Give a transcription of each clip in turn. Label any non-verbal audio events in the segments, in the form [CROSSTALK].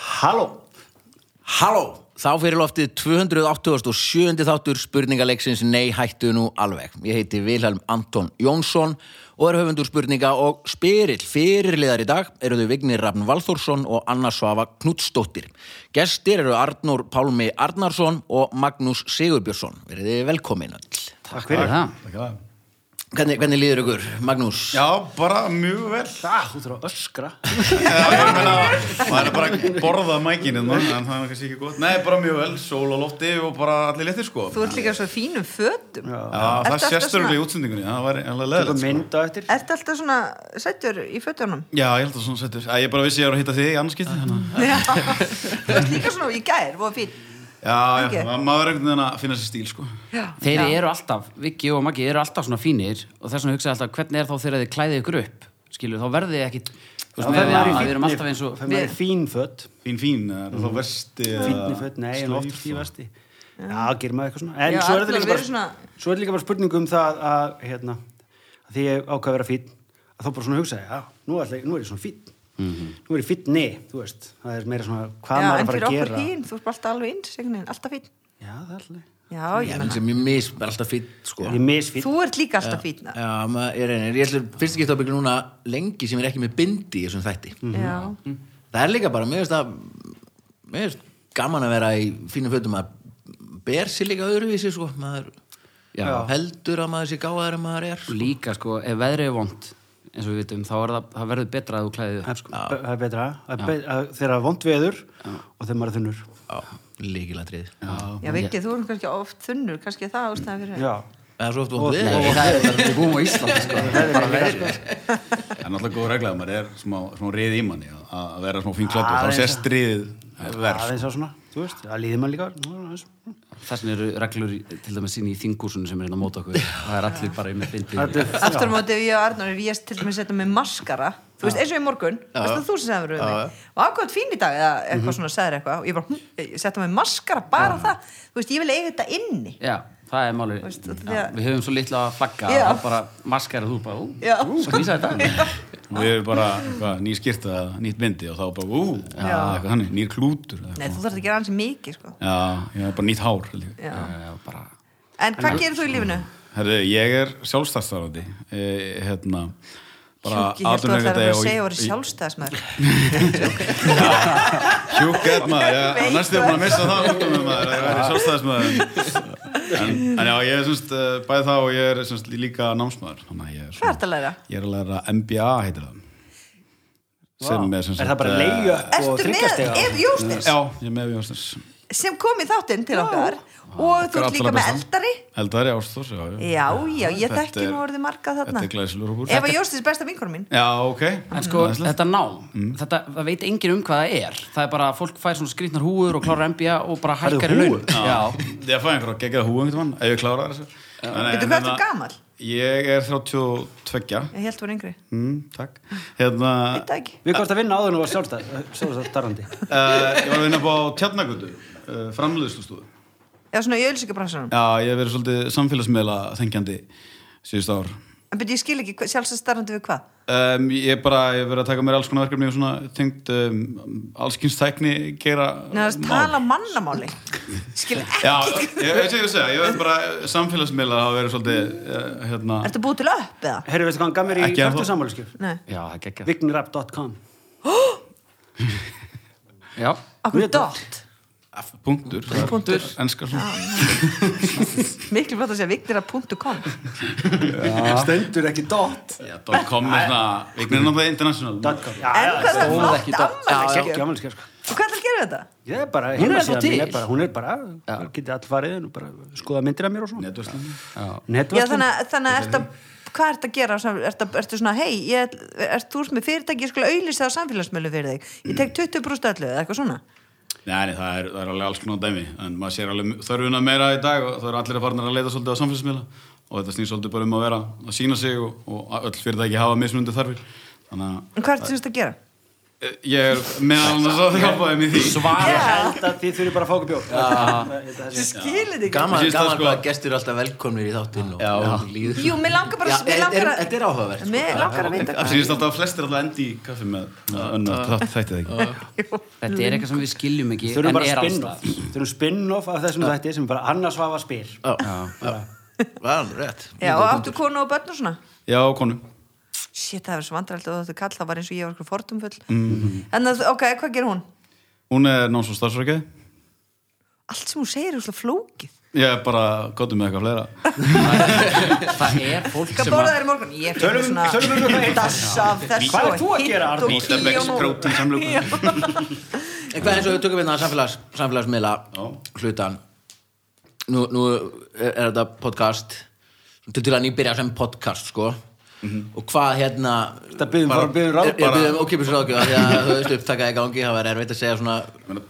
Halló Halló, þá fyrir loftið 287. þáttur spurningaleiksins Nei hættu nú alveg. Ég heiti Vilhelm Anton Jónsson og er höfundur spurninga og spyrill fyrirliðar í dag eru þau Vignir Rafn Valþórsson og Anna Svava Knudsdóttir. Gestir eru Arnór Pálmi Arnarsson og Magnús Sigurbjörnsson. Verið þið velkomin öll. Takk fyrir það. Takk fyrir það Hvernig, hvernig líður ykkur, Magnús? Já, bara mjög vel Það, Ah, þú þurfa að öskra Já, ég meina, maður er bara að borða mækinu en það er kannski ekki gott Nei, bara mjög vel, sól á lofti og bara allir léttir sko Þú ert líka svo fínum fötum. Já, Ertu það alltaf sést svona- örgulega í útsendingunni, það var alveg Tökum leðilegt sko. mynd á eftir Ert alltaf svona setjur í fötunum? Já, ég held að svona settur Æ, Ég bara vissi að ég var að hitta þig í hérna. annarskipti þannig að- Já. Þú ert líka svona í gær, voða fín. Já, já, Ekki? ma- maður er einhvern veginn að finna sér stíl sko Já. Þeir eru alltaf, Viki og Maggi eru alltaf svona fínir og þess vegna hugsaði alltaf hvernig er þá þegar þið klæðið ykkur upp skilur, þá verðið þið ekkit þú veist, með að við erum alltaf eins og Það er fín föt Fín, fín, eða þá vesti eða Fínni föt, nei, en slauf, oftast í og- vesti Já, gerir maður eitthvað svona En Já, svo er allar þetta líka verið bara svona- Svo er þetta líka bara spurning um það að hérna, að því ég ákvað að vera fín að þá bara svona hugsaði, já, nú, ætla, ég- nú er ég svona fín Nú er ég fín, nei, þú veist Það er meira svona hvað Já, maður er að en fyrir fara að okkur gera hín, þú ert bara alltaf alveg eins, einhvern veginn, alltaf fín. Já, það er alltaf Já, ég ég menna. sem ég mis, er alltaf fýtt sko. Ég er misfín Þú ert líka alltaf fín. Já, maður er einir, ég ætlur fyrst ekki að byggja núna lengi sem er ekki með bindi í þessum Mm. þætti Já. það er líka bara, mér finnst það mér finnst gaman að vera í fínum fötum að ber sér líka öðruvísi sko, maður Já. heldur að maður sé gáðar en maður er Og líka sko, ef veðrið er vond eins og við vitum, þá er það, það verður betra að þú klæðið upp sko. Það er betra Það er be- að- Þegar það er vond veður og þegar maður er þunnur já, líkilatrið Já, vikið, þú erum kannski oft þunnur, kannski það ástæðan fyrir. Já, eða svo oft Og- vond við og- það er bara við búum á Íslandi [LAUGHS] sko. það er veður Það er náttúrulega góð regla að maður er smá, smá rið í manni að- að vera smá fín kláttur Aðeins að- þá sést riðið verð sko. aðeins á svona, þú veist, það líði maður líka nú, aðeins. þess vegna eru reglur í- til dæmis inn í þingúsunum sem er inn á móta okkur það er allir bara með bindið Þetta er- Aftur á móti ef ég og Arnur, ef ég til dæmis setja með maskara, þú veist, eins og í morgun, veist það þú sem sagður við mig, og ákvæmt fín í dag, eða eitthvað svona sagður eitthvað, og ég bara, hm, ég setja með maskara, bara það, þú veist, ég vil eiga þetta inni. Já, það er málið Veist, Já, þetta er- Við höfum svo litla að flagga Já. og þá bara maskara þú bara, ú, Já. ú, skvísa þetta og við erum bara hva, ný skýrta eða nýtt myndi og þá bara ú, já. eitthvað þannig, nýr klútur eða Nei, eitthvað. þú þarf að gera hans mikið, sko. já, ég er bara nýtt hár held ég. [LAUGHS] Já. Já, bara, En hvað gerir þú í lífinu? Herri, ég er sjálfstæðstarfandi e, hérna bara Sjúki, ég held að það er atvinnurekandi að og- segja að vera sjálfstæðismæður. sjúk er maður, já, Veit næstu er búin að missa það út um maður, ég væri sjálfstæðsmaður en, en já, ég er semst eh, bæði það og ég er semst líka námsmaður þannig að ég er, Hvað ertu að læra? ég er að læra MBA heitir það sem eh, er semst er það bara leiðu og Ertu með þryggjastega Ef Jóstins já, ég er með við ástæðs sem kom í þáttinn til okkar Ah, og þú ert Allra líka með besta. eldari eldari ástæðs, já, já Já, já, ég Þetta þekki er- nú orðið marga Þetta þarna er glæsilegur hópur Eva Jóstins er besta vinkonum mín Já, ok En sko, Æðislegt. þetta nám, Mm. þetta, það veit enginn um hvað það er. Það er bara að fólk fær svona skrýtnar húur og klárar MBA og bara Færðu hækkar í laun. húfur? Já, Ég fæði einhverja geggjað húum einhvern mann Ef ég klára þessu Nei, Veitu en hvað ertu hérna, gamall? Ég er 32 Ég held þú er yngri mm, Takk Hérna Þetta ekki Við komst að vinna áður en þú var sjálfstæð- sjálfstæðstarfandi uh, Ég var að vinna upp á Tjarnagutu uh, Framlöðslustúðu Já, svona í ölsingabransanum Já, ég hef verið svolítið samfélagsmiðla þengjandi síðust ár En byrju, ég skil ekki hvað- sjálfstæðsstarfandi við hvað um, Ég er bara, ég hef verið að taka mér alls konar verkefni og svona tengt um, allskynstækni gera Nei, það er að tala mannamáli [LAUGHS] Skil Já, ekki ég ég veit ekki að segja Ég hef bara samfélagsmiðla hafa verið svolítið uh, hérna, Ertu búið til upp eða? Herru, veistu hvað hann gaf mér í Ekki að þú- fættusammáluskjöf? Nei, já, það er geggjað. Vignirapp.com Já, okkur Mjög dot Punktur Punktur Enskar svona Miklu frátt að segja viknira.com Stendur ekki dot Já, dot .com er svona Vignir er náttúrulega international .com Já, En já, hvað það er stóð flott ekki dot. Já, já, afmælisgjöf. afmælisgjöf, sko. Og hvað er að gera þetta? Ég er bara, Hún er heimasíðan ennþá mín til. bara- Hún er bara, getið all farið inn og bara skoða myndir af mér og svona Netverslun Já, Netverslun. þannig að, þannig að ertu, hvað ertu að gera? á sam- Ertu, ertu svona, hei, ég, er, þú ert með fyrirtæki, ég skulle auðlýsa á samfélagsmiðlu fyrir þig. Ég tek 20% öllu eða eitthvað svona. Nei, nei, það er, það er alveg alls konar dæmi En maður sér alveg þörfuna meira í dag og það eru allir að farnar að leita svolítið á samfélagsmiðla og þetta snýr svolítið bara um að vera að sína sig og, og öll fyrirtæki hafa mismunandi þarfir Þannig að En hvað ertu semst að gera? ég er meðal annars að hjálpa þeim í því Ég Já. held að þið þurfi bara að fá okkur bjór Ég held að Ég þessi- skil þetta ekki Gaman, Ég syns það, gaman sko. hvað gestir eru alltaf velkomnir í þáttinn og, og líður Jú, mér langar bara- Já, mér er- langar er- að- Þetta er áhugavert sko. Mér langar að vita Það hvað sýnist alltaf að flestir alltaf endi í kaffi með með önnur þátt þættið ekki. Þetta er eitthvað sem við skiljum ekki þurfum en bara er alls spin-off þurfum spin-off af þessum þætti sem er bara Anna Svava spyr Já, já. Það er alveg rétt Já, og áttu konu og börn og svona Já, konu. Shit, það er svo vandrælt og þetta kall, það var eins og ég var eitthvað fordumfull mm. En það, ok, hvað gerir hún? Hún er náms og starfsrækja. Allt sem hún segir er svona flókið Ég er bara gottum með eitthvað fleira. það. Það er fólk Hvað sem borða að þær í morgun? Ég Tölum- fyrir svona tölum um það eitt. dass af þessu Hvað ert þú að gera, og hitt og Arnór? hí og Vítabex nú. prótín samlöku. En hvað er eins og við tökum við það samfélags, samfélagsmiðla Já. hlutan nú, nú er, er þetta podcast til til að nýbyrja sem podcast sko Mhm. og hvað hérna Þetta biðjum bara- biðjum ráð- ég, ég biðum ókipis ráðgjöf því að þú veist upptaka í gangi það var erfitt að segja svona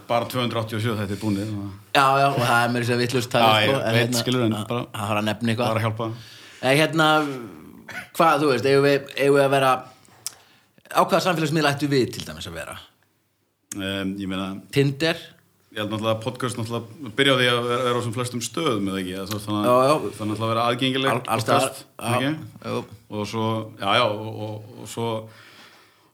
Bara 287 þetta er búinni. Það já já og það er mér sér vittlust það Já, ég veit, skilur, en bara- sko, hérna- það var að nefna eitthvað er að hjálpa. Nei, hérna, hvað þú veist, eigum við, eigum við að vera, á hvaða samfélagsmiðla ættu við til dæmis að vera? Um, ég meina, Tinder? ég held náttúrulega að podcast náttúrulega byrja á því að vera, vera á sem flestum stöðum eða ekki. eða þú veist, Já, Þannig já. að það er náttúrulega að vera aðgengileg. Al- alls staðar, podcast, já, ekki? jú. Og svo, já, já, og, og, og svo...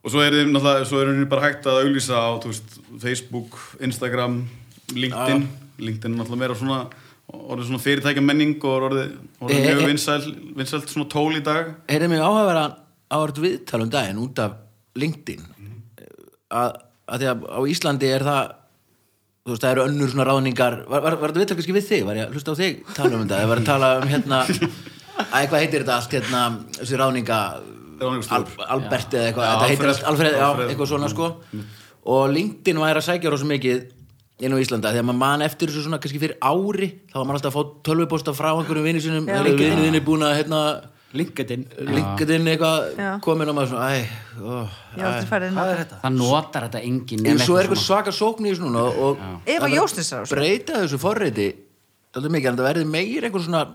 Og svo er þeim náttúrulega, svo er þeim bara hægt að auglýsa á, þú veist, Facebook, Instagram, LinkedIn. LinkedIn er náttúrulega meira svona, orðið svona fyrirtækja menning og er orðið, orðið Eh, eh. mjög vinsælt, vinsælt svona tól í dag. Heyrðu mig áhæfara áhært viðtal um daginn út af LinkedIn, að, að því að á Íslandi er það, þú veist, það eru önnur svona ráðningar, var, var, var þetta viðtal kannski við þig, var ég að hlusta á þig tala um þetta, ég var að tala um [LAUGHS] hérna, að hvað heitir þetta allt, hérna, þessi ráðninga, Al, Ráðningarstjóri. Albert eða eitthvað, Já, Mm. þetta heitir Alfred. allt, Alfred, já, Alfred. eitthvað svona sko og LinkedIn væri að sækja rosa mikið inn á Íslanda, þegar maður man eftir þessu svona kannski fyrir ári, þá var maður alltaf að fá tölvuposta frá einhverjum vinni sinum, Já. þegar vinniðin er búin að hérna, LinkedIn LinkedIn eitthvað Já. komin og maður svona, æ, ó, Ég hef aldrei farið inn á Hvað er það. þetta? það notar þetta engin en svo er eitthvað svaka sókn í þessu núna og Eva það verður Jósnes er á þessu. breyta þessu forreiti, þetta er mikið, en það verði meir eitthvað svona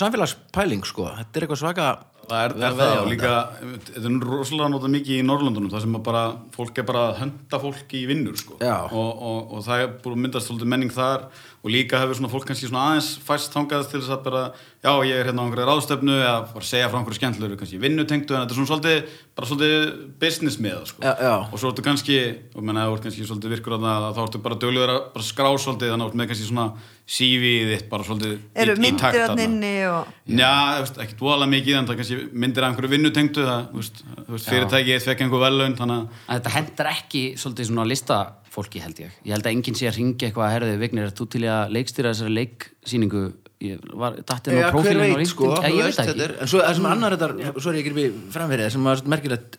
samfélagspæling sko, þetta er eitthvað svaka Það er, er veðja á það og þetta. líka, þetta er nú rosalega notað mikið í Norrlöndunum, það sem að bara, fólk er bara að hönda fólk í vinnur, sko. Já. Og, og, og það er búin að myndast svolítið menning þar og líka hefur svona fólk kannski svona aðeins fæst þangað til þess að bara, já, ég er hérna á einhverju ráðstefnu eða bara að segja frá einhverju skemmtlur, kannski vinnutengdu, en þetta er svona svolítið, bara svolítið business með það, sko. Já, já. Og svo ertu kannski, og menna, þú ert kannski svolítið virkur að það, þá ertu bara dölur að bara skrá svolítið, þannig að þú ert með kannski svona CV-ið þitt bara svolítið í- Eru í takt myndir hann þarna. inni og Já, ekki dvoðalega mikið en það kannski myndir af einhverju vinnutengdu það, þú veist, þú veist, fyrirtækið fekk einhver velun þannig að En þetta hendar ekki svolítið svona listafólki held ég. Ég held að enginn sé að ringja eitthvað að herðu Vignir, er þú til í að leikstýra þessari leiksýningu? Ég var dattinn Já, á hver prófílinn og veit, ringdi. sko, Já, þú veist, ég veit það þetta ekki. er, en svo það sem annar þetta, svo er ég ekki við framfyrir það sem var svolítið merkilegt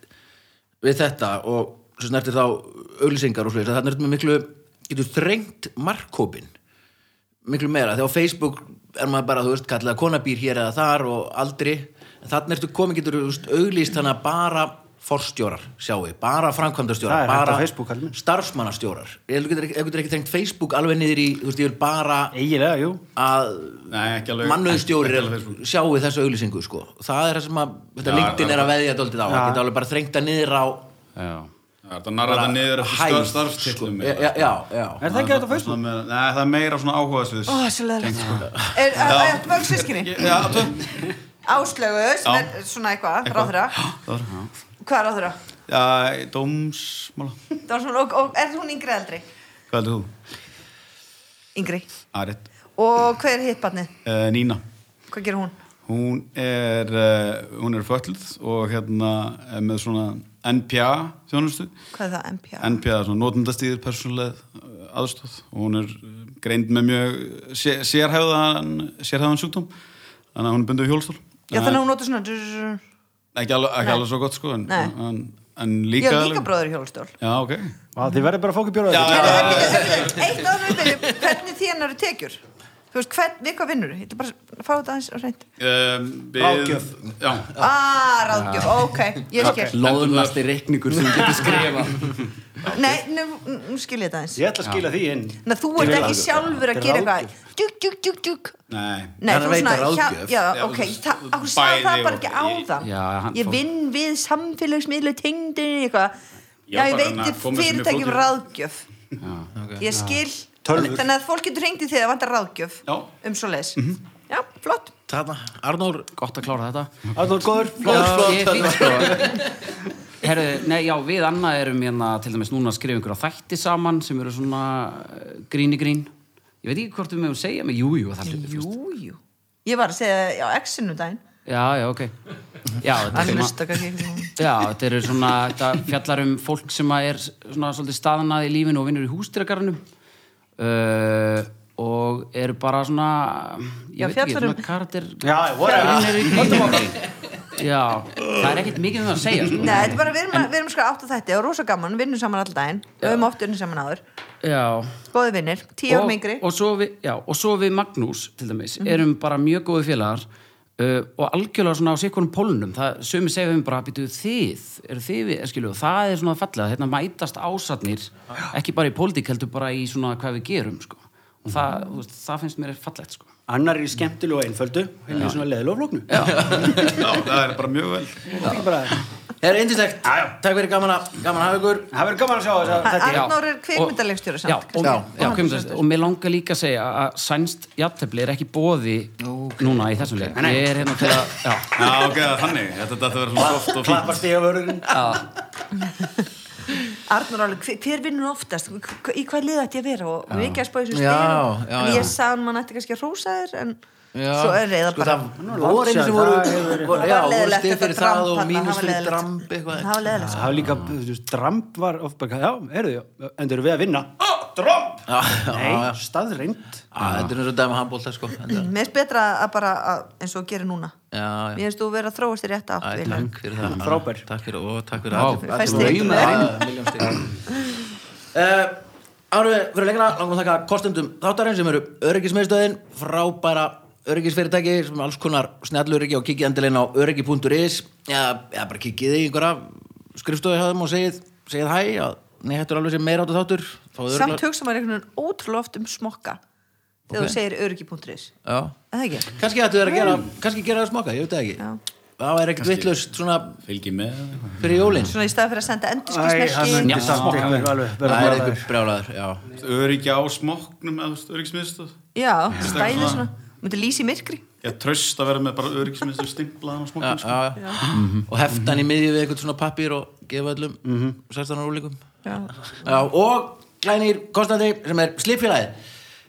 við þetta og svo snertir þá auglýsingar og slúið, þannig er þetta með miklu getur þrengt markkópin miklu meira, þegar á Facebook er maður bara, þú veist, kallega konabýr hér eða þar og aldri, en þannig ertu komið getur, þú veist, auglýst þannig að bara forstjórar, sjáu, bara Það framkvæmdastjórar, er hægt á bara Facebook, Kalli minn. starfsmannastjórar ef þú getur ekki- ef þú getur ekki þrengt Facebook alveg niður í, þú veist, ég vil bara Eigilega, jú að nei, ekki alveg mannauðstjórir ekki alveg Facebook. sjáu þessa auglýsingu sko. það er það sem að þetta Já, LinkedIn er að já. veðja dóldið á, það geta alveg bara þrengta niður á Já. Það er þetta narra þetta niður hæð, eftir starfstillum sko. já, já, já. Er það ekki þetta á Facebook? Nei, það er meira svona áhuga sviðs Ó, það er svo leðilegt Tengt, Er það mörg sískinni? Já, tveim. Áslögu, sem Já. er svona eitthvað, Eitthvað. ráðra Það er- já. Hvað er ráðra? Já, dómsmála Það var svona, og, og er hún yngri eða eldri? Hvað heldur þú? Yngri Aritt Og hver er hitt barnið? uh, Nína Hvað gerir hún? Hún er, uh, hún er fötluð og hérna er með svona NPA þjónustu Hvað er það, MPA? NPA, svona notendastýðir persónuleg aðstóð og hún er eh, greind með mjög uh, sé- sérhæfðan, sérhæfðan sjúkdóm þannig að hún er bundið í hjólstól Já, þannig að hún notur svona drrrr. ekki, alveg, ekki Nei. alveg svo gott sko en, Nei. en, en Ég líka, hef líka bróður í hjólstól Já, ok Vá, Þið verður bara að fá okkur bjóra Já, Heyrðu, en bíddu, en bíddu, Eitt áður en við byrjum, hvernig þín eru tekjur? Þú veist, hvern, við hvað vinnur? Ég ætla bara að fá þetta aðeins á hreint um, við, Ráðgjöf. Já, Ah, ráðgjöf, ok, ég skil Lóðnasti reikningur sem þú getur [LAUGHS] skrifað. Nei, nú, nú skil ég þetta aðeins Ég ætla að skila því inn Ná, þú ert Til ekki ráðgjöf. sjálfur að Til gera ráðgjöf. eitthvað Djúk, djúk, djúk, djúk nei Nei, Hann þú er að veita svona, hjá- ráðgjöf. já, Já, ok, þú- það, okkur sagði bæði það bara og- ekki áðan Já, hann Ég fór- vinn við samfélagsmiðla tengdin eitthvað Já, ég bara veit hérna ég komið sem í fyrirtækjum flókið. ráðgjöf Ég skil Tölvur. Þannig að fólk getur hringt í þig að vanda ráðgjöf Já. Um svo leis Já, flott Þarna, Arnór Gott að klára þetta Arnór góður, flott. Ég er fínt sko Herðu, nei, já, við annað erum hérna til dæmis núna að skrifa einhverja þætti saman sem eru svona eh, grín í grín Ég veit ekki hvort við meðum segja mig, jú, jú, það hlutir Jú, jú Ég var að segja já, exinu daginn Já, já, ok Já, þetta er Hann svona hlusta kannski ekki svona. [LAUGHS] Já, þetta eru svona, þetta fjallar um fólk sem að er svona svolítið staðnað í lífinu og vinnur í hústýragarnum uh, og eru bara svona, ég Já, veit ekki, fjallar svona um- karakter Já, whatever. Vinnur í hústýragarnum Já, það er ekkert mikið um það að segja sko. Nei, þetta er bara, við erum, en... við erum sko átt á þetta og rosa gaman, vinnum saman all daginn Við höfum oft unni saman áður Já, Góði vinnir, tíu og mingri og svo, við, já, og svo við Magnús til dæmis, erum bara mjög góði félagar uh, og algjörlega svona á sikkunum pólunum, það sumi segja um bara býtu þið, eru þið við, skilu það er svona fallega, hérna mætast ásatnir ekki bara í pólitík heldur bara í svona hvað við gerum, sko og það, þú veist, það finnst mér fallegt, sko Annar er í skemmtilegu og einföldu, hinn er í svona leðilega og flóknu. Já, það er bara mjög vel Það er bara- Það er eindislegt, takk fyrir gaman að gaman að hafa ykkur Það verður gaman að sjá [LAUGHS] þess að þetta. Já. Arnór er kvikmyndarleikstjóri Já, samt og, kannski. já, já, Og hann er kvikmyndarleikstjóri. og mér langar líka að segja að sænst jafntefli er ekki bóði núna í þessum leik ég er hérna til að, já Já, ok, það er þannig, þetta þetta verður svona soft og fínt Klappar stiga vörðurinn. Arnur alveg, hver- hver vinnur oftast Hva- í hvað liða ætti ég að vera og við ekki að spá í þessu Já, stegum já, en já. ég sagði hann mann ætti kannski að rósa þér en Já. svo er reyða Sko, bara Það voru einu sem voru, Það hefur- voru- já, Það var voru leiðilegt stið þetta fyrir það dramb og þarna, mínus það var fyrir leiðilegt. dramb eitthvað það var sko. leðilegt Það var líka, þú veist, dramp var oft bara, já, heyrðu, já, en þau eru við að vinna. Ó, dramp! Já, já, já. Nei, staðreind. Á, Þetta er eins og dæma handbólta sko Þetta- mér finnst betra að bara að, eins og gerir núna Já, mér já finnst þú vera að þróast þér rétt átt Æ, Vilhelm. Takk fyrir það Frábær. Takk fyrir, og takk fyrir Vá, allir- fæst allir- stig. Já, milljón stig. Eh, Árum við fyrir lengra langum að þakka kostendum þáttarinn sem eru öryggismiðstöðin frábæra öryggisfyrirtæki sem alls konar snjalluryggi og kikið endilegin á öryggi.is eða, eða bara kikið í einhverja skrifstofi hafðum og segið, segið hæ að nei, þetta er alveg sem meira áttu þáttur fáið samt örugglega- hugsa maður einhvern veginn ótrúlega oft um smokka þegar þú segir öryggi.is Já en það ekki Kannski ættu þeir að gera, kannski gera það smaka, ég veit það ekki Já. Það er ekkert vitlaust svona Fylgi með eða eitthvað. fyrir jólin svona í staði fyrir að Æ, senda það endurskismerki myndi samt ykkur alveg. verða Það er brjálaður. eitthvað brjálaður, já Öryggi á smokknum eða þú veist, öryggismiðstöð já, stæði Svona- svona myndi lýsi í myrkri Ég tröst að vera með bara öryggismiðstöð stimplaðan á Já, smokknum sko. já, já. Mhm. Og heftan í miðju við eitthvað svona pappír og gefa öllum Mhm. 16 ára úlíkum Já, og glænir kostandi sem er slipfélagið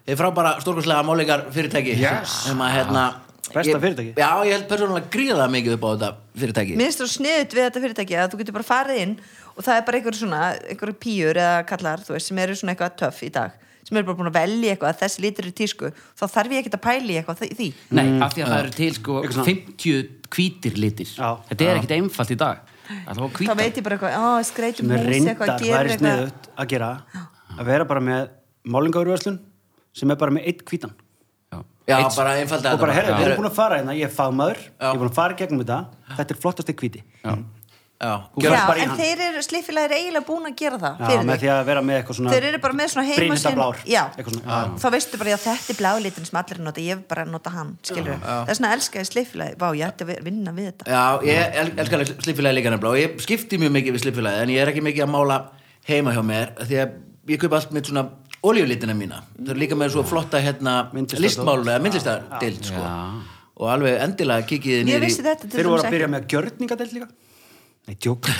Þið frábæra stórkurslega máleikar fyrirtæki Yes. Ah. sem að hérna Besta ég- fyrirtæki. Já, ég held persónulega gríða mikið upp á þetta fyrirtæki Mér finnst þú sniðut við þetta fyrirtæki að þú getur bara farið inn og það er bara einhver svona, einhver pýjur eða kallar, þú veist, sem eru svona eitthvað töff í dag sem eru bara búin að velja eitthvað að þessi litur í tísku þá þarf ég ekkert að pæli eitthvað í því Nei, af því að það eru til sko 50 hvítir litir Já. Þetta er ekkit einfalt í dag Það var þá hvítar veit ég bara eitthvað, á, skreitum sem er hús reyndar, eitthvað, að það gera er eitthvað sniðut að gera að vera bara með málingaurvöslun sem er bara með eitt hvítan Já. Já, bara einfalda og bara, herru, við já. erum búin að fara hérna, ég er fagmaður ég er búin að fara í gegnum þetta, þetta er flottasti hvíti já, Já, Gjörðu Já, bara í en hann. þeir eru sliffilega eiginlega búin að gera það með fyrir því þig að vera með eitthvað svona Þeir eru bara með svona heima Brynhilda Hérna, blár, Já, eitthvað svona, já. þá veistu bara, já, þetta er blálitin sem allir nota, ég er bara að nota hann, skilur Það er svona elskaði sliffilega, vá, ég ætti að vera- vinna við þetta Já, ég el elskar slipfélagi líka nefnilega og ég skipti mjög mikið við slipfélagi en ég er ekki mikið að mála heima hjá mér því að ég kaup allt með svona olíulitina mína þau eru líka með svo flotta hérna Myndlistardót. listmál eða myndlistadild sko. og alveg endilega kikið Ég niður í vissi þetta til þeir dæmis voru að ekki. byrja með gjörningadelt líka nei, djók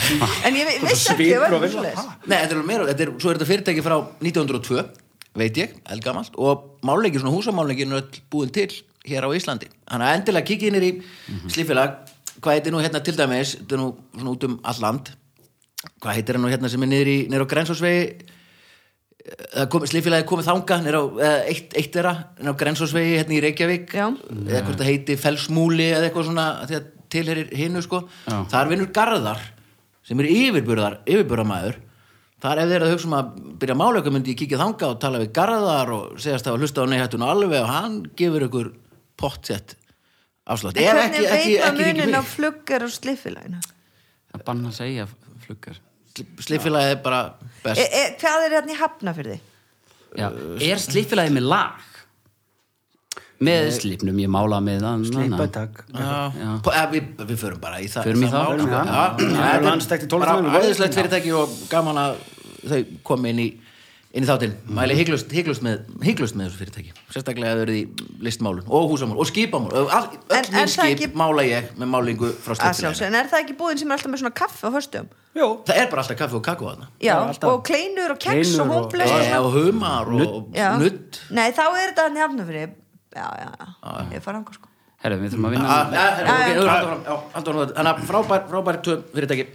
En ég vi- vissi ekki, ég svipur var og vinna. svoleiðis. Nei, þetta er alveg meira, þetta er, svo er þetta fyrirtæki frá 1902 veit ég, eldgamalt og máleikir, svona húsamáleikir er öll búin til hér á Íslandi þannig að endilega kikið niður í mm hvað heitir nú hérna til dæmis þetta er nú svona út um all land hvað heitir hann nú hérna sem er niður í niður á Grensásvegi kom, slifélagi komið þanga niður á, eða eitt, eitt þeirra, niður á Grensásvegi hérna í Reykjavík, Já. eða hvort það heiti Fellsmúli eða eitthvað svona af því að tilherir hinnu sko, Já. þar vinnur Garðar sem er yfirburðar, yfirburðamæður þar ef þeir eru að hugsa um að byrja að mála eitthvað myndi ég kíkja þanga og tala við Garðar og segast að hlusta á neyhættun alveg og hann gefur ykkur pottsett afslátt, En ef hvernig ekki, ekki, veit maður ekki, ekki, munin á ekki fluggar og sliffilaginu? Það banna að segja fluggar slifélagi er bara best E, e, hvað er hérna í hafna fyrir því? Já. Er slipfélagið með lag? með slipnum, ég mála með það Sleipa takk. Pó- eða, eh, við, við förum bara í það Förum í það mál, það. Förum í sko. það. Já, Við já, erum þetta landsþekkt í er 12 bara mánuðum. æðislegt fyrirtæki og gaman að þau komi inn í inn í þáttinn, mæli hygglust, hygglust, með, hygglust með þessu fyrirtæki, sérstaklega að þau eru í listmálun og húsamál og skipamál öll En- öll en mín það skip ekki- mála ég með málingu frá að sjálfsögðu. styrtileginu en er það ekki búðin sem er alltaf með svona kaffe á höstum Jó. það er bara alltaf kaffi og kakó þarna já, Já, alltaf. og kleinur og keks Kleinur og og- hóflöð Eh, og humar og nutt nei, þá er þetta hann í afnöfri já, já, já, ég fara ángur sko herru, við þurfum að vinna Ah, eh, ok, Já, já. þú er haldið áfram, já, haldið áfram. Þannig að frábær, frábær tvö fyrirtæki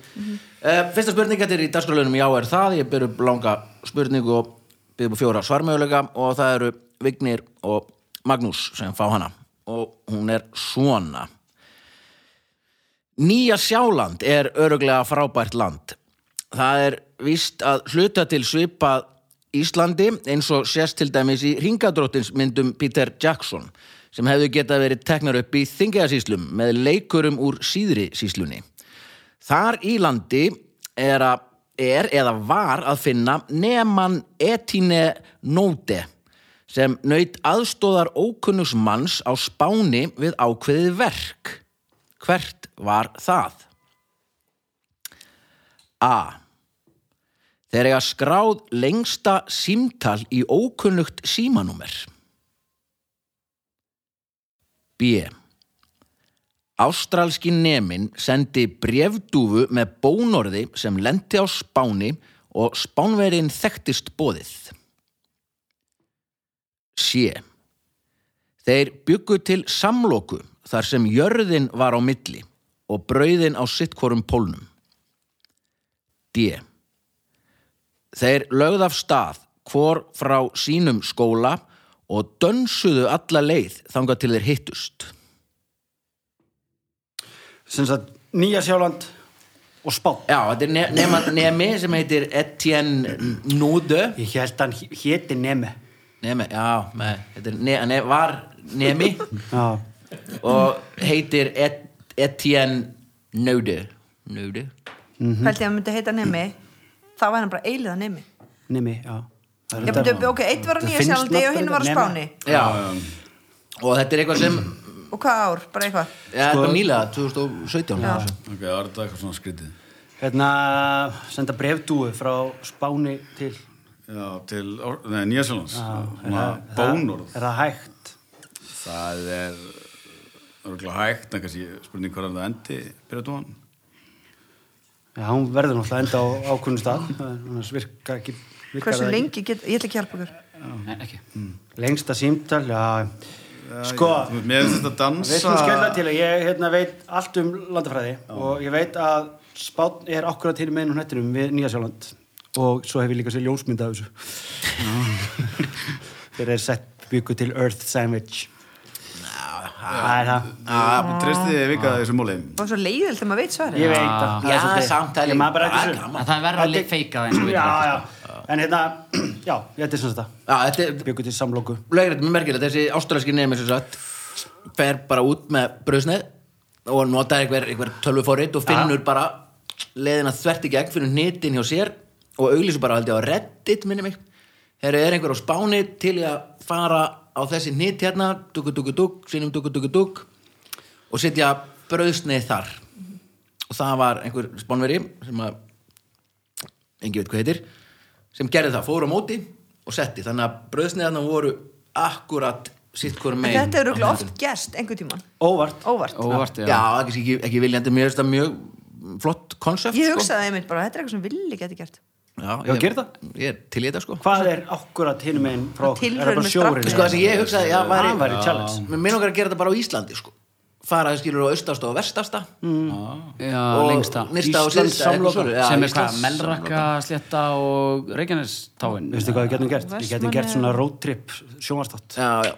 Eh, Fyrsta spurning þetta er í dagskrálunum Já er það, ég byrju upp langa spurningu og byrju upp á fjóra svarmögulega og það eru Vignir og Magnús sem fá hana og hún er svona Nýja Sjáland er öruglega frábært land. Það er víst að hluta til svipað Íslandi eins og sérst til dæmis í ringadróttinsmyndum Peter Jackson sem hefðu getað verið teknar upp í þingiðasíslum með leikurum úr síðri síslunni. Þar í landi er, að, er eða var að finna Neman Etine Nóte sem naut aðstóðar ókunnugs manns á spáni við ákveðið verk. Hvert var það? A. Þeir eiga skráð lengsta símtal í ókunnugt símanúmer. B. Ástralski nemin sendi brefdúfu með bónorði sem lendi á Spáni og Spánverðin þekktist bóðið. Sjö. Þeir byggu til samloku þar sem jörðin var á milli og brauðin á sittkorum pólnum. D. Þeir lögð af stað hvor frá sínum skóla og dönsuðu alla leið þangað til þeir hittust. Sem sagt, Nýja Sjáland og Spán. Já, þetta er ne nema, nemi sem heitir Etienne Núðu Ég held hann héti Neme. Nemi, já, nei, þetta er ne ne var nemi Já. og heitir Et Etienne Núðu Núðu held ég að myndi heita nemi þá var hann bara eiliða nemi Nemi, já. Það er Ég þetta- myndi, ok, eitt var á þetta nýja finnst sjálfandi og náttúrulega hinn var á nema. spáni Já, og þetta er eitthvað sem og hvað ár, bara eitthvað Já, þetta var nýlega, 2017 já. Ok, það er þetta eitthvað svona skrítið. Hérna, senda brefdúu frá Spáni til... Já, til Or- nei, Nýjasjólands. Svona Er það- bónorð. Er það hægt? Það er örgulega hægt, en kannski spurning hvað er það endi, Pyratúan? Já, hún verður náttúrulega enda á ákunnum stað. Þannig virkar ekki... virkar hversu það ekki. lengi, get, ég ætla ekki að hjálpa ykkur Nei, ekki. Mm. Lengsta símtal, já. Sko, Mér finnst þetta dansa... við skulum skella til að ég hérna, veit allt um landafræði og ég veit að Spán er akkurat hinn meðin hún hettinum við Nýja Sjáland og svo hef ég líka sér ljósmynda af þessu. Þeir eru sett byggu til Earth Sandwich. Það er það. Já, treysti þið vika þessu múli. og svo leiðild þegar maður veit svari Ég veit að Já, svolítið- samtali. Ég maður bara Það er eftir gaman. þessu. En það er verra að Þetta- feika það eins og við Já, getum. já. En hérna, [CLEARS THROAT] já, þetta er svona þetta. já, þetta er Byggu til samlóku. lögrið með merkilegt, þessi ástralski nemi sem sagt, fer bara út með brusnið og notar einhver, einhver tölvuforrið og finnur bara leiðina þvert í gegn, finnur nýttin hjá sér og auglýsir bara haldið á reddit minni mig, þegar er einhver á spáni til í að fara á þessi nýtt hérna, duggu duggu dugg sínum duggu duggu dugg og setja brusnið þar og það var einhver spánveri sem að engi veit hvað heitir sem gerði það, fór á móti og setti þannig að bröðsneðarna voru akkurat sitt hverju megin þetta er á örugglega myndinni. oft gerst einhvern tíman, Óvart. óvart óvart, já, já það er kannski ekki, ekki viljandi mér finnst það mjög flott konsept sko. ég hugsaði einmitt bara, þetta er eitthvað sem villi geti gert sko. já, Já, gerðu það. ég er til í þetta sko Hvað er akkurat hinn meginn frá okkur? Er það Tilraun bara með sjórinn? straflaug. sko það sem ég hugsaði, já, væri, Það væri challenge. mér minn okkar að gera þetta bara á Íslandi sko fara skilur á austasta og vestasta Mm. já, og lengsta nyrsta Íslands og syðsta, eitthvað samloka. svoleiðis. Já, sem er Íslands hvað, Melrakka, Sletta og Reykjanestáin Veistu hvað við getum gert? Við getum gert Vestmannaeyjar. svona road trip sjónvarstátt. já, já,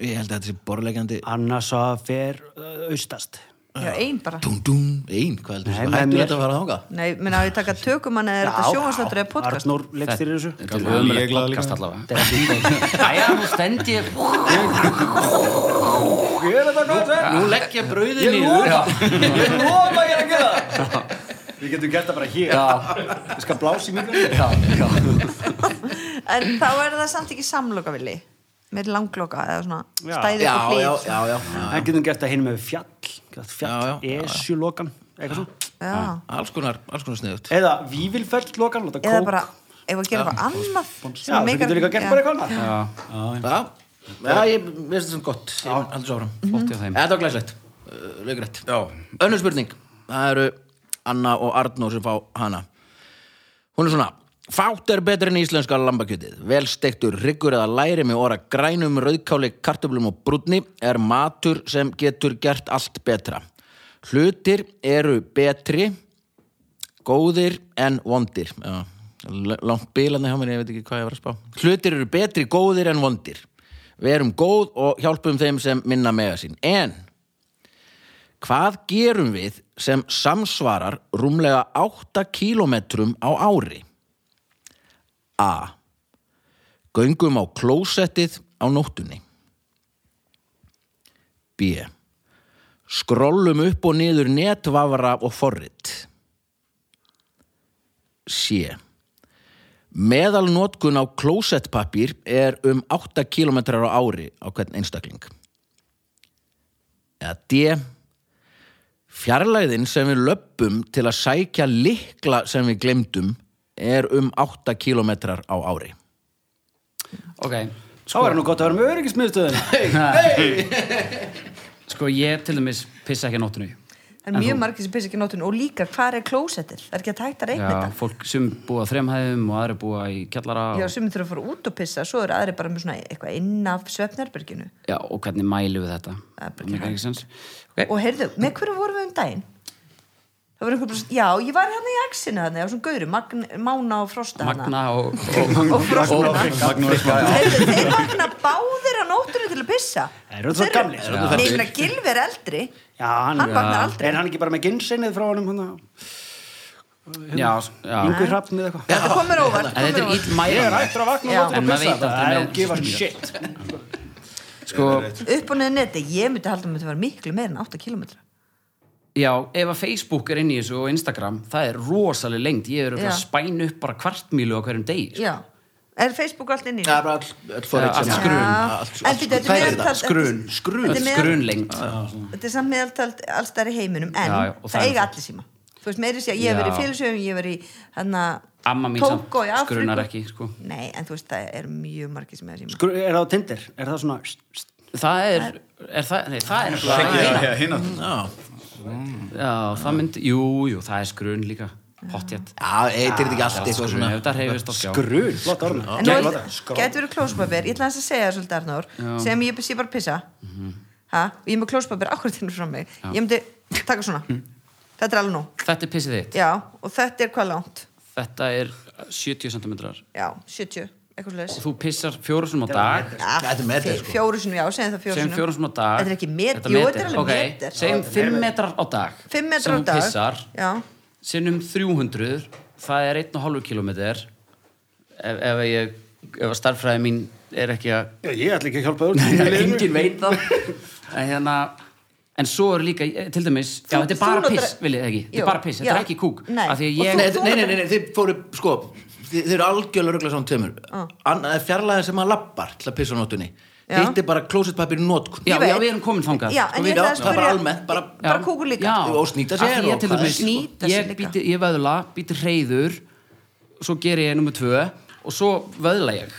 ég held að þetta sé borlegjandi Annars að fer uh, austast. já, ein bara dún, dún, ein, hvað heldur Nei, þú með hættu mér- þetta að fara þáka Nei, menn að ég taka tökum hann eða er þetta sjóhanslættur eða podcast Arnór leikstýrir þessu. Þetta er Gaman. ömurlegt Ég glaður podcast líka. allavega Þetta er ekki góð. Æja, nú stend ég Ég er þetta gott, nú leggja brauðin Ég niður. lofa, ég lofa að ég er að gera það. Við getum gert það bara hér. Já. Við skal blása í mikrofónu. En þá er það samt ekki samloka villi með langloka eða svona Já. stæði já, upp á hlið já, já, já, já. Það getum gert það hinn með fjall, gert fjall Já, já, já, já. Esjulokan, eitthvað svona. Já. alls konar, alls konar sniðut Eða Vívilfelllokan, láta eða kók. bara ef að gera eitthvað annað Já, það getur líka gert bara eitthvað annað. já, já, ég veist þetta sem gott ég mun aldrei svo áfram Flott hjá þeim. þetta var glæslegt, lögrætt Já. önnur spurning, það eru Anna og Arnór sem fá hana hún er svona Fátt er betur en íslenska lambakjötið. Vel steiktur riggur eða læri með óra grænum, rauðkáli, kartöflum og brúnni er matur sem getur gert allt betra. Hlutir eru betri, góðir en vondir. Já, l- langt bilandi hjá mér, ég veit ekki hvað ég var að spá. Hlutir eru betri, góðir en vondir. Verum góð og hjálpum þeim sem minna mega sín. En Hvað gerum við sem samsvarar rúmlega 8 kílometrum á ári? A. Göngum á klósettið á nóttunni. B. Skrollum upp og niður netvafara og forrit. C. Meðalnotkun á klósettpapír er um 8 kílometrar á ári á hvern einstakling. Eða D. Fjarlæðin sem við löppum til að sækja likla sem við glemdum er um 8 kilometrar á ári. Ok, Þá er nú gott að vera með öryggismiðstöðinu. sko ég til dæmis pissa ekki á nóttunni. en mjög margir sem pissa ekki nótun og líka hvað er klósettir það er ekki að tækta að Já, reyna þetta fólk sem búa á þremhæðum og aðri búa í kjallara Já, og, sumir þurfa að fara út og pissa, svo eru aðri bara með svona eitthvað inn af svefnherberginu. já, og hvernig mælu við þetta? Það er bara ekki mikið ekki sens. Okay. Og heyrðu, með hverju vorum við um daginn? Það var einhver bara, já, ég var hérna í axinu þannig, á svona gauru, magn, Mána og Frosta hana. Magna og, og Frostmanna. Magnús var Heyrðu, þeir vakna báðir á nóttunni til að pissa. Þeir eru svo gamlir. Þeir eru svo Nei, meina, Gylfi er eldri. Já, hann, Hann vaknar aldrei. Er hann ekki bara með ginsinnið frá honum, hann að hérna. já, s- já. yngur hrafn eða eitthvað? Þetta komur óvart. En komur þetta er óvart. ill mæla. Ég er ættur að vakna Já. og láta hann En maður pissa. veit Það er aldrei með að gefa shit. Sko, Upp og neða neti, ég myndi halda að þetta var miklu meira en 8 kilometra. já, ef að Facebook er inn í þessu og Instagram, það er rosaleg lengt. Ég er örugglega að Já. spæna upp bara kvartmílu á hverjum degi. sko. Já. Er Facebook allt inn í? Það er bara all, all forrið Allt sem- skrun. Já. Allt- En allt- býttu, þetta Hvað er er meðaltal- þetta? Skrun, skrun. Þetta er Öll meðal- skrunlengt. Þetta er samt meðaltalt alls þær í heiminum, en Já, já, og það, það er eiga það. allir síma. Þú veist, meiri sér, ég hef Já. verið í félagsöfum, ég hef verið í hana, Amma mín samt Tóko í Afríku. skrunar ekki, sko. Nei, en þú veist, það er mjög margir sem er síma. Skru- Er það á Tinder? Er það svona... Það er, er það, nei, það er nefnilega hérna Já, það myndi, jú, jú, það er skrun líka Hotjet Já, heitir þetta ekki allt eitthvað Skrun, svona. ef þetta reyfist á skjá Grun, flott orðum. En nú getur verið klóspapir, ég ætla hans að segja það svolítið Arnór, sem ég sé bara pissa Mhm. ha, og ég er með klóspapir akkurat hérna frá mig, ég myndi taka svona Mhm. þetta er alveg nú, Þetta er pissið þitt já, og þetta er hvað langt Þetta er 70 cm Og já, 70, eitthvað slags þú pissar fjóru sinum á dag Þetta er metri, sko. fjóru sinum, já, segjum það fjóru Segjum sinum fjóru sinum á dag þetta er ekki met, jú, þetta er alveg Ok, meter Segjum 5 metrar á dag 5 metrar á Sem dag þú pissar já, Sinnum 300 Það er 1,5 km ef, ef ég, ef að starffræði mín er [LAUGHS] ekki að Ég ætla ekki að hjálpa þú. Það er engin veit það en hérna en svo er líka, eh, til dæmis já, Þú- þetta er þú bara notar- piss, viljið þið ekki þetta Jú, er bara piss, þetta já. er ekki kúk Nei. af því að Og ég, Nei, þú- þetta- nei, nei, nei, nei, þið fóru, sko, þið, þið eru algjörlega ruggla svona tömur. Annað er fjarlæðin sem maður lappar til að pissa á nóttunni. Já. Hitt er bara klósettpapir nótkun. já, Ég veit. já, við erum komin þangað já, Sko, en við- ég ætla já, að það er bara spyrja almennt, bara- bara kúkur líka já, Og snýta sér Af því og ég til hvað dæmis, er- Snýta sér líka. ég, býti, ég vöðla, býti reyður svo geri ég nummer tvö og svo vöðla ég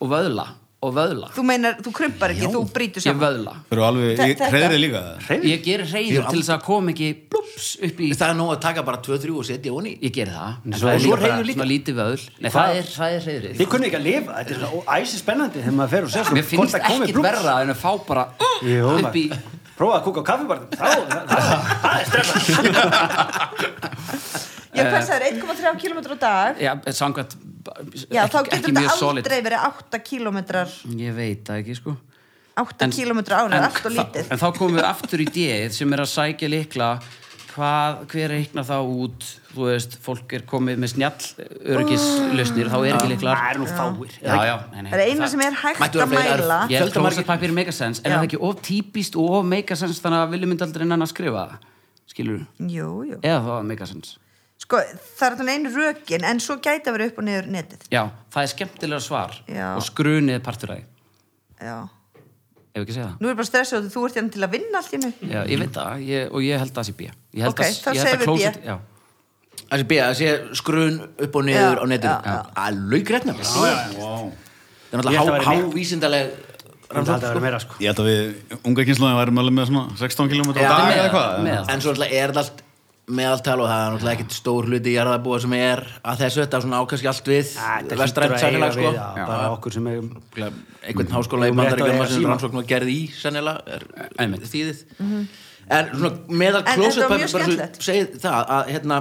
og vöðla og vöðla þú meinar, þú krumpar ekki, þú brýtur ég saman vöðla Þú eru Þe- alveg þetta- hreðrið líka ég geri reyður til þess að kom ekki blúps upp í Það er nóg að taka bara 2-3 og setja honi. ég geri það en Svo- og það er svo líka bara hreyfir líka. svona lítið vöðl Nei, það er, það er reyðrið Þið kunni ekki að lifa, þetta er svona æsi spennandi þegar maður fer og sér svona Mér finnst hvort það komi ekkert blús. verra en að fá bara Jú, upp í maður. Prófa að kúka á kaffibarnum, þá, það- það- það er stressað. ég passaður 1,3 km á dag Já, samkvæmt já, þá Eh, ekki, getur ekki mjög þetta solid aldrei verið 8 km Ég veit það ekki sko 8 km ára, allt og lítið En þá komum við aftur í dæð sem er að sækja likla hvað, hver reiknar þá út þú veist, fólk er komið með snjall öryggislausnir, þá er ekki liklar Það er nú fáir. Já, já, nei, nei, Það er eina sem er hægt Mættu vera að fleiri- mæla Ég held að Fjöldamargir- klósetpapir er megasens en Já. er það ekki of típist og of megasens þannig að viljum myndi aldrei nennan að skrifa það skilur við, Jú, jú eða það var megasens Sko, það er þannig einu rökin En svo gæti að vera upp og niður netið Já, það er skemmtilega svar Já. og skrunið er partur af því já. ef ekki segja það Nú er bara stressað þú ert hérna til að vinna allt í mig Já, ég veit það, ég, og ég held að það sé B Ég held Ok, að, þá ég held segjum við að klóset, B. já Það sé bíða, það sé skrun upp og niður Já, á netinu. já, já. Alveg greitt nefnir. Vá. Það Ég held að er væri náttúrulega há- meira. hávísindaleg Það er alltaf að rannsókn. vera meira sko Ég held að við unga kynslaðum værum alveg með svona 16 km á dag með- eða hvað með- eða? meðal. En svo náttúrulega er þetta allt meðaltal og það er náttúrulega ekkit stór hluti í jarðabúa sem er að þessu þetta svona ákast allt við Þetta vestrænt hlýtur að eiga sækilag sko við, já, bara okkur sem er Örugglega einhvern háskóla í Eigum Mhm. rétt á að bandaríkjum eiga þar sem síma. rannsókn var gerð í sennilega er Einmitt. þýðið en svona meðal Mhm. En þetta var mjög klósetpæpis bara skemmtilegt. segið það að hérna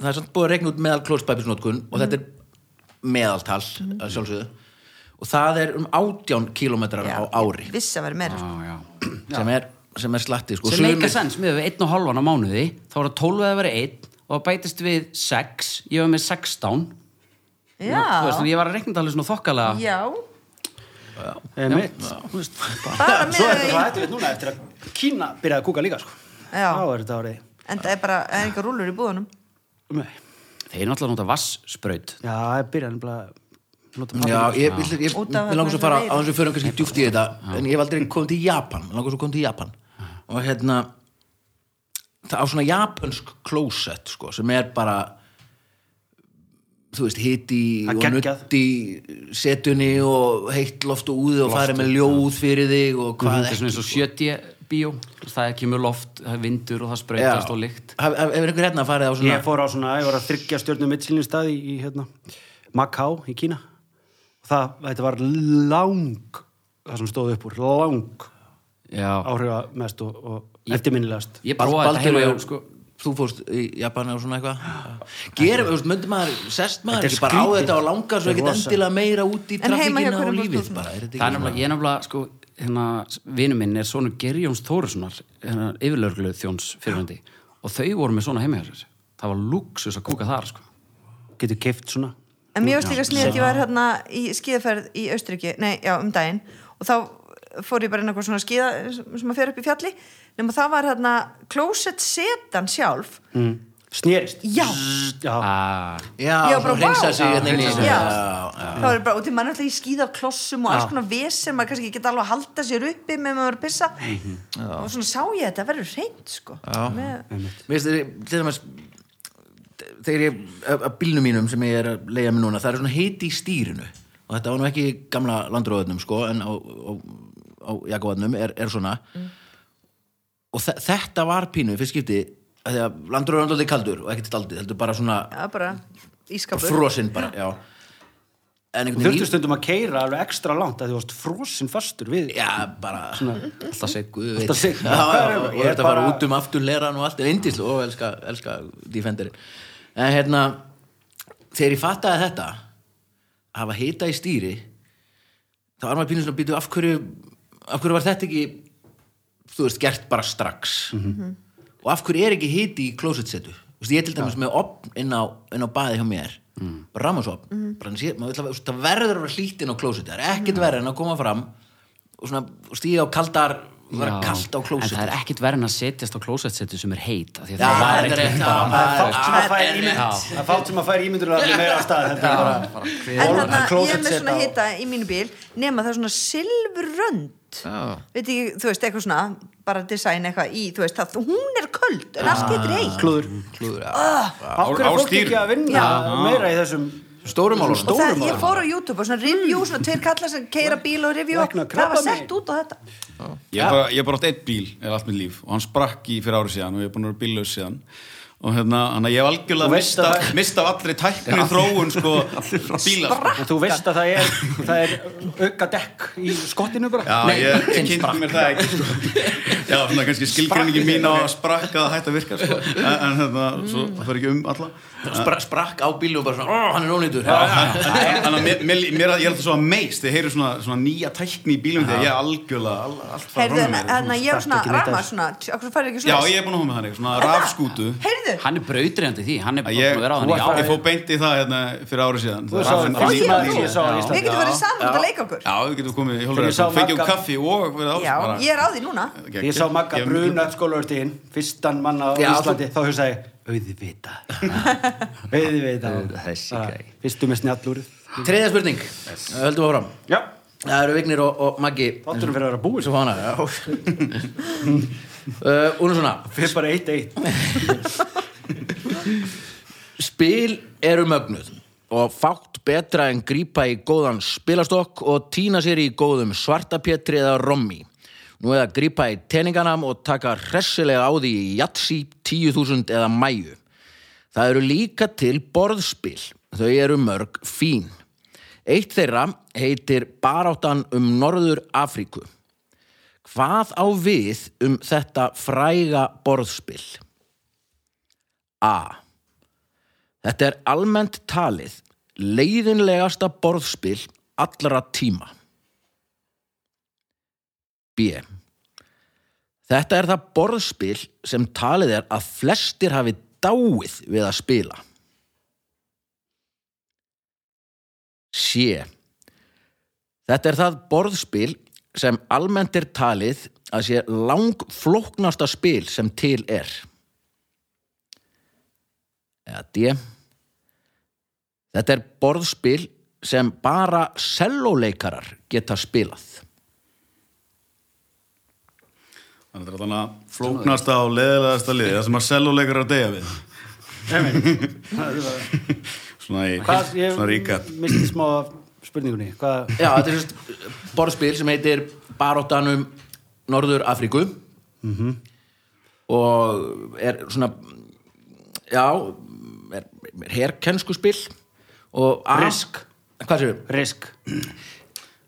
það er samt búið að regna út meðal klósetpæpisnótkun og þetta er meðaltal Mhm. að sjálfsögðu og það er um 18 kilometrar á ári Viss að vera meira sko. Já, já sem er, sem er slatti sko. Sem Sumir- meika sens, miðað við einn og halvan á mánuði Þá var það 12 að vera einn Og það bætist við 6 Ég var með 16 Þú hérna veist, þannig Já, ég var að reikna það alveg svona þokkalega já eh, mitt Þú veist, [LAUGHS] Bara Svo er með þetta svo hættilegt núna eftir að Kína byrjaði að kúka líka sko Já. Þá er þetta árið En það er bara, það er einhver rúlur í búðunum Nei. Þeir náttúrulega nota vassbraut Já, það byrjaði nefnilega nota Já, pappír. ég, ég, ég, Út af ég langar svo að fara þessum á þess að fyrir kannski djúft í þetta en ég hef aldrei komið til Japan mér langar svo að koma til Japan og hérna það á svona japansk klósett sko, sem er bara þú veist, hiti Það er og geggjað. nutt í setunni og heitt loft og úði og farið með ljóð fyrir þig og Það hvað er svona eins og 70 bíó Það kemur loft, það er vindur og það sprautast og lykt Hef- hef- Hefur einhver hérna farið á svona Ég fór á svona, ég var að þryggja stjörnum mittsilin stað í, í hérna, Macau í Kína og það, þetta var lang það sem stóð upp úr, lang Já, áhrifa mest og, og eftirminnilegast ég Bal- prófaði þetta Baldur heima hjá- og sko, þú fórst í Japan og svona eitthvað gerum, þú veist, myndum maður sest maður Þetta er ekki bara á skrítið. þetta og langar svo Þetta er ekkert rosa. endilega meira út í En heima hjá trafikina og hverjum varst lífið þú? bara, er Það er þetta ekki nefnilega, ég er nefnilega, sko, hérna, vinu minn er svona Gerjóns Þórissonar, hérna, yfirlörglu þjóns fyrirhundi og þau voru með svona heima hjá sér. Það var luxus að kúka þar, sko. getur keift svona En mér varst líka sniðið að ég var hérna í skíðaferð í Austriki, nei, já, um daginn og þá fór ég bara inn á eitthvað svona skíða sem að fer upp í fjalli nema það var hérna klósett setan sjálf mm. snerist Já, Já, Ah, já, Já, já bara, hreinsa vá. sig hérna inn í Já. þessu. Já. Já, já. það var bara, og því mann er alltaf í skíða á klossum og alls konar vesir, maður kannski geta alveg að halda sér uppi með maður er að pissa og svona sá ég þetta, það verður reynd sko með, Mér finnst þeir- til dæmis þegar ég, af af bílnum mínum sem ég er að leiða mér núna, það er svona heiti í stýrinu og þetta var nú ekki í gamla landróðunum sko, en á, á, á Jakobannum er, er svona og þe- þetta var pínu fyrst skipti, af því að landróðunum er alltaf kaldur og ekkert staldið, heldur bara svona já, bara ískapur frosinn bara, já en þú einhvern þurftu veginn, stundum að keira alveg ekstra langt að þú varst frosinn fastur við já, bara alltaf sig, guð veit. Alltaf sig. já, já, já, Ég og þetta bara- bara út um aftur leran og allt er indislu, og elska, elska Defenderin, en hérna þegar ég fattaði þetta að hafa hita í stýri þá var maður pínu svona býtu af hverju af hverju var þetta ekki þú veist, gert bara strax og af hverju er ekki hiti í klósetsetu Þú veist, ég er til dæmis með opn inn á, inn á baði hjá mér mm. bara rammasopn bara, en sé, maður, vill að- þú veist, það verður að vera hlýtt inn á klóseti það er ekkert verður en að koma fram og svona og stíða á kaldar það er já. kalt á klóseti En það er ekkit verið að setjast á klósettsetu sem er heit, af því að Já, það var þetta er ekkit rétt, já, bara... það er fátt sem að Já. færa ímynd það er fátt sem að færa ímyndur að meira af stað þetta er bara En Volvo- þarna, ég er closet með set svona á- hita í mínu bíl nema það er svona silfrönd veit ekki, þú veist, eitthvað svona bara design eitthvað í, þú veist, það, hún er köld en allt getur heitt Ah. klúður klúður, já. Ákveður á fólk stýrinu. ekki að vinna meira í þessum stórum álum og það, ég fór á YouTube og svona review, svona tveir kallar sem keira bíl og review, Lækna það var Hmm. krabbamein. sett út á þetta Ég er bara, ég er bara átt eitt bíl eða allt mitt líf og hann sprakk í fyrir árið síðan og ég er búin að vera bíllaus síðan og hérna, hann að ég hef Þú algjörlega veist mista, að það- mista af allri tækni þróun [LAUGHS] sko bíla sko. og þú veist að það er, það er auka dekk í skottinu bara Já, ég, ég kynnt kynnti sprakk. mér það ekki sko. Já, svona kannski skilgreiningi mín á að sprakka að hætta að virka sko. en, en hérna, svo, Mm. það fyrir ekki um alla Spra, sprakk á bílum og bara svona, ó, hann er ónýtur Þannig að mér, mér, mér, ég er alltaf svo að meist þegar ég heyri svona, svona nýja tækni í bílum þegar ég er algjörlega all, allt frá heyrðu, en- mér en ég var svona ekki neitt rama af svona, okkur farið ekki Já, svona ég er búin að hafa með þannig, svona rafskútu heyrðu, Hann er brautreðandi því, hann er Að bara ég, búin að vera á þannig ég ári. fór beint í það hérna fyrir árið síðan þú sá það fyrst fyrst tíma maður sem ég sá á við Íslandi getum verið saman út að leika okkur Já, við getum komið í Þegar ég hjólur sá Fengið um Magga- kaffi og verið áfram já, ég er á því núna ég sá Magga bruna skólavertiðin fyrstan manna á Já, Íslandi þá hefur sagði, auðvita auðvita Auðvita, þessi Bara gæi. fyrstu með snjallúrið Treðja spurning, höldum áfram já, Það eru Vignir og, og Maggi Þátturum fyrir að vera búið Svo fána Úlum svona Fyrir bara eitt eitt Spil eru mögnuð og fátt betra en grípa í góðan spilastokk og týna sér í góðum svartapétri eða rommi. Nú eða grípa í teninganam og taka hressilega á því í jatsi, 10.000 eða mæju. Það eru líka til borðspil. Þau eru mörg fín. Eitt þeirra heitir Baráttan um Norður Afríku. Hvað á við um þetta fræga borðspil? A. Þetta er almennt talið leiðinlegasta borðspil allra tíma. B. Þetta er það borðspil sem talið er að flestir hafi dáið við að spila. C. Þetta er það borðspil sem almennt er talið að sé langflóknasta spil sem til er. Eða D. Þetta er borðspil sem bara selloleikarar geta spilað. Þannig að þetta er alltaf flóknasta og leðilegasta lið það sem að seljuleikar að deyja við svona í Hvað, ég svona ríka misti smá af spurningunni Hvað, Já, þetta er sérst borðspil sem heitir Baróttanum Norður Afríku Mhm. og er svona já, er, er herkenskuspil og A- Risk. Hvað séu? risk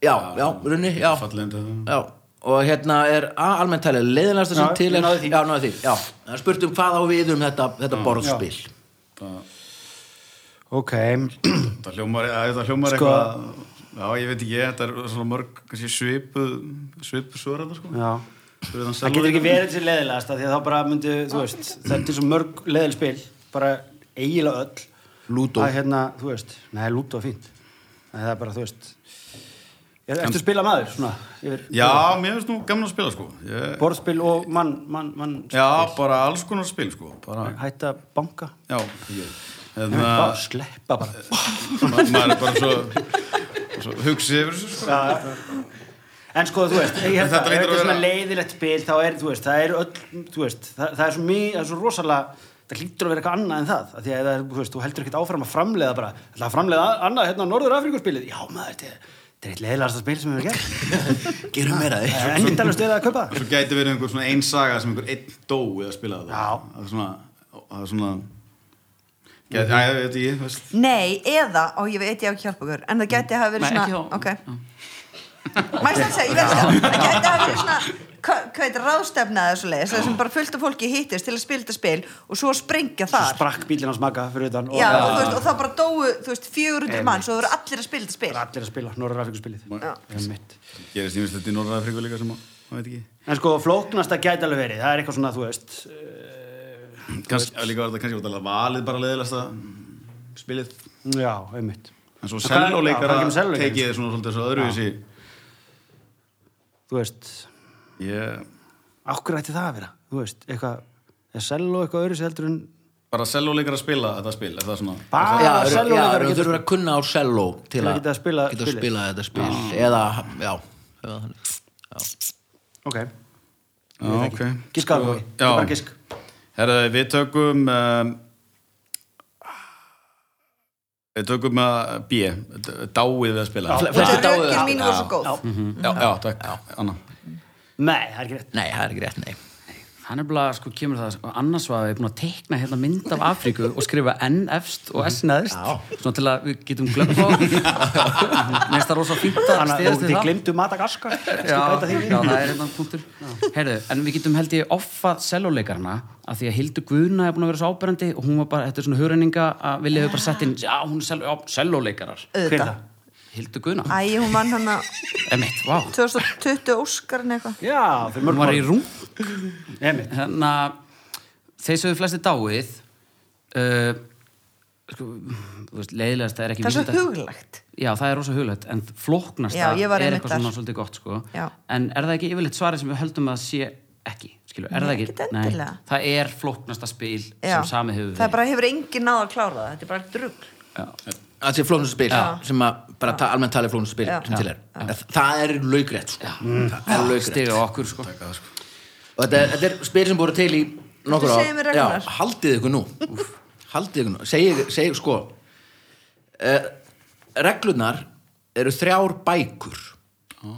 Já, já, runni, já, fallegnd já og hérna er A almennt talið leiðinlegasta sem Já, til er ég náði því. Já, náði því, já Það er spurt um hvað á við um þetta, þetta borðspil Ok, [CLEARS THROAT] Þetta hljómar, að, þetta hljómar Sko- eitthvað Já, ég veit ekki, þetta er svona mörg kannski svipu, svipu svöraðar sko. já Fyrir þann Það getur ekki sellóleikann. verið þessi leðilegast Því að þá bara myndi, þú veist Það er til svo mörg leðilspil Bara eiginlega öll Lúdó. Að hérna, þú veist, nei, lúdó er fínt Nei, það er bara, þú veist Er- Ertu að spila maður, svona yfir, Já, mér finnst nú gaman að spila sko. ég, Borðspil og mann, mann, mann Já, bara alls konar spil sko. bara, Hætta banka Já Þannig Bara að sleppa bara ma maður er bara svo, svo hugsið yfir þessu sko. En sko, þú veist, ég held þetta að ef þetta lítur að er svona vera- leiðilegt spil, þá er, þú veist, það er öll, þú veist, það, það er svo mjög, það er svo rosalega, það hlýtur að vera eitthvað annað en það, af því að það er, þú veist, þú heldur ekkert áfram að framleiða bara, ætla að framleiða annað hérna á Norður Afríkurspilið, já maður, þetta er- þetta er eitt leiðilegasta spil sem við erum gert, Gerum meira því en [LAUGHS] ég tala um stuðið að kaupa það. Svo gæti verið einhver svona einn saga sem einhver einn dó við að spila það Já. Það er svona, það er svona Gæti, já, ég veit ekki, veist Nei, eða, og ég veit ég á ekki hjálpa okkur En það geti hafa verið Nei, svona ekki þá. Ok Mæst að segja, ég veit það Það geti hafa verið [LAUGHS] svona hva- Hvað heit, ráðstefna eða svo leiðis Það sem bara fullt af fólki hittist til að spila þetta spil Og svo springja þar Sprakk bílinn hans maga fyrir utan og Já, það og, þú veist, og þá bara dóu, þú veist, 400 manns Og það voru allir að spila þetta spil er allir að spila Norður Afríkurspilið. Já. Einmitt. Gerist ég veist þetta í Norræðafríku líka sem að, maður veit ekki En sko, flóknasta gæti alveg verið, það er eitthvað svona, þú veist, kannski, já, líka var þetta kannski var þetta valið bara leðilegasta spilið já, einmitt. en svo En hvað- já, selvoleikara hvað kemur sellóleikari? tekið þið svona svolítið svo öðruvísi Þú veist, ég, Akkur ætti það að vera, þú veist, eitthvað, er selló eitthvað öðru heldur en bara selvoleikara spila þetta spil er það svona bara Já, já, selló já, eitthvað þú getur þurfur að kunna á selló til Til að að geta spilað geta spilið. spilað þetta spil eða, já, eða þannig. Ok, já, ok Sko, gíska alveg, já. þetta er bara gísk Herra, við tökum um, við tökum að B, dáið við að spila já, Mhm. Fle- Og flestir það dáið rökin það. mín voru svo góð já, takk Anna. Nei, það er ekki rétt Nei, það er ekki rétt, nei Hann er bara, sko, kemur það, sko, annars var ég búin að tekna hérna mynd af Afríku og skrifa N efst og S neðst, svona til að við getum glögg á. Mér finnst það rosa fínt að Þannig að stýðast við þið það. glimtu matagaskar Já, já, það er hérna punktur. Herðu, en við getum held ég offa selvoleikarna af því að Hildur Guðna er búin að vera svo áberandi og hún var bara, þetta er svona hugrenninga að vilja hefur bara sett inn, já, hún er selvoleikarar. Hver er Auðvitað það? Hildur Guðna, Æ, hún vann hann að emitt, vá. 2020 Óskarinn eitthvað Já, fyrir Hún mörgum var í rúm [LAUGHS] Einmitt. hérna þeir sem við flesti dáið uh, sko, þú veist, leiðilegast það er ekki Það er svo vísinda- huglegt já, það er rosa huglegt, en flóknast Já, ég var einmitt er eitthvað þar. svona svolítið gott sko. Já. en er það ekki yfirleitt svarið sem við höldum að sé ekki, skilur, er það Nei, ekki ekkert endilega. það er flóknasta spil Já. sem samið hefur Það bara hefur engin náð að klára það Þetta er bara drugg verið já. að sé flónuspil Já. sem að bara ta almennt talið flónuspil Já. sem til er það er laugrætt sko. það er laugrætt stiga á okkur sko. og þetta, þetta er spil sem voru til í nokkur Þetta á segir mér Ragnar. haldið ykkur nú Úff, haldið ykkur nú, segið segi, sko uh, reglunar eru þrjár bækur Mm.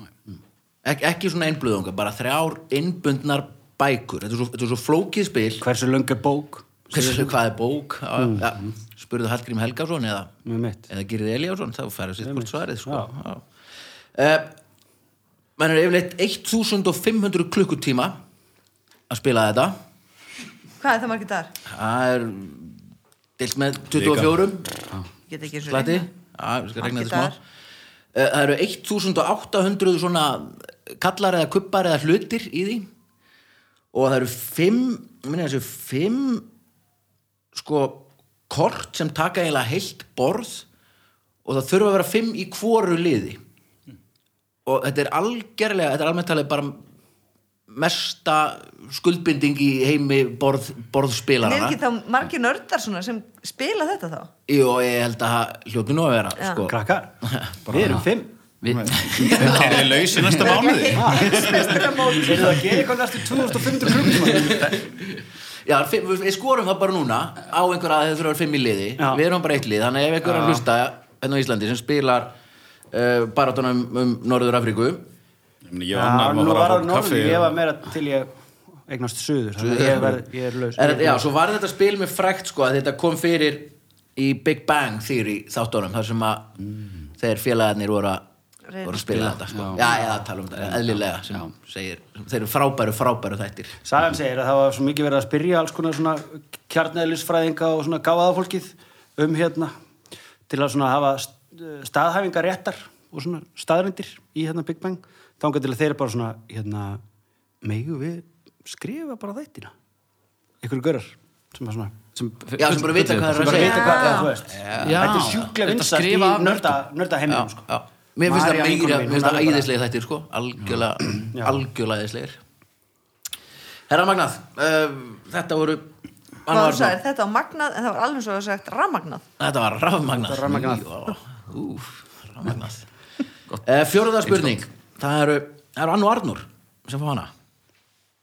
Ek, ekki svona einblöðunga, bara þrjár innbundnar bækur, þetta er svo, þetta er svo flókið spil Hversu löng er bók? Hversu, hvað er bók? Mm. Ja, spurðu Hallgrím Helgason eða, Með mitt. eða Gyrði Elíásson, þá færðu sitt hvort svarið sko. Já. Uh, mann er yfirleitt 1500 klukkutíma að spila þetta Hvað er það margir dagar? það er deilt með 24 Ég Get ekki eins og slæti reyna. Já, við skal regna Margir þetta smá dagar. Eh, það eru 1800 svona kallar eða kubbar eða hlutir í því og það eru fimm minni þessu fimm sko kort sem taka eiginlega heilt borð og það þurfa að vera fimm í hvoru liði og þetta er algerlega þetta er almennt talið bara mesta skuldbinding í heimi borð, En borðspilarana er ekki þá margir nördar svona sem spila þetta þá? Jú, ég held að það hljóti nú að vera Já. sko. Krakkar, við erum fimm. Þeir eru laus í næsta mánuði Þeir eru að gera eitthvað næstu 2500 klukkutíma. Já, fimm, við við skorum það bara núna á einhverja að þeir þurfa að vera fimm í liði Já. Við erum bara eitt lið, þannig að ef einhverja hlusta hérna á Íslandi sem spilar uh, baratunum um, um Norður Afríku Ég meina, ég Já, og annar nú maður var það fara að fá norður, kaffi ég var meira til ég eignast suður, þannig að ég, verð- ég er laus. eh, er, Já, svo var þetta spil með frækt sko að þetta kom fyrir í Big Bang Theory þáttunum þar sem að þeir félagarnir voru að Reyna. voru að spila þetta sko. Já, já, tala um þetta, eðlilega sem segir, þeir eru frábæru, frábæru þættir Sagan segir að það var svo mikið verið að spyrja alls konar svona kjarnæðlisfræðinga og svona gáðafólkið um hérna til að svona hafa st- staðhæfingar réttar og svona staðrindir í hérna Big Bang þangar til að þeir eru bara svona hérna megu við skrifa bara þættina einhverju görar sem að svona sem, Já, sem bara vita hvað þeir sem eru að bara segja vita hvað það þú veist Já. þetta er sjúklega Þetta vinsast í skrifa af nörda, nörda já, heiminum sko. já. Mér finnst það María meira, vinkona mér mín, finnst hún það alveg bara- æðislega þættir sko, [CLEARS THROAT] algjörlega, algjörlega æðislegir Herra Magnað, uh, þetta voru Hvað annað þú sagðir, þetta var magnað en það var alveg svo að sagt ramagnað. Þetta var rafmagnað rafmagnað. Úf, rafmagnað uh, Fjóruða spurning, það eru, það eru Annu Arnur sem fá hana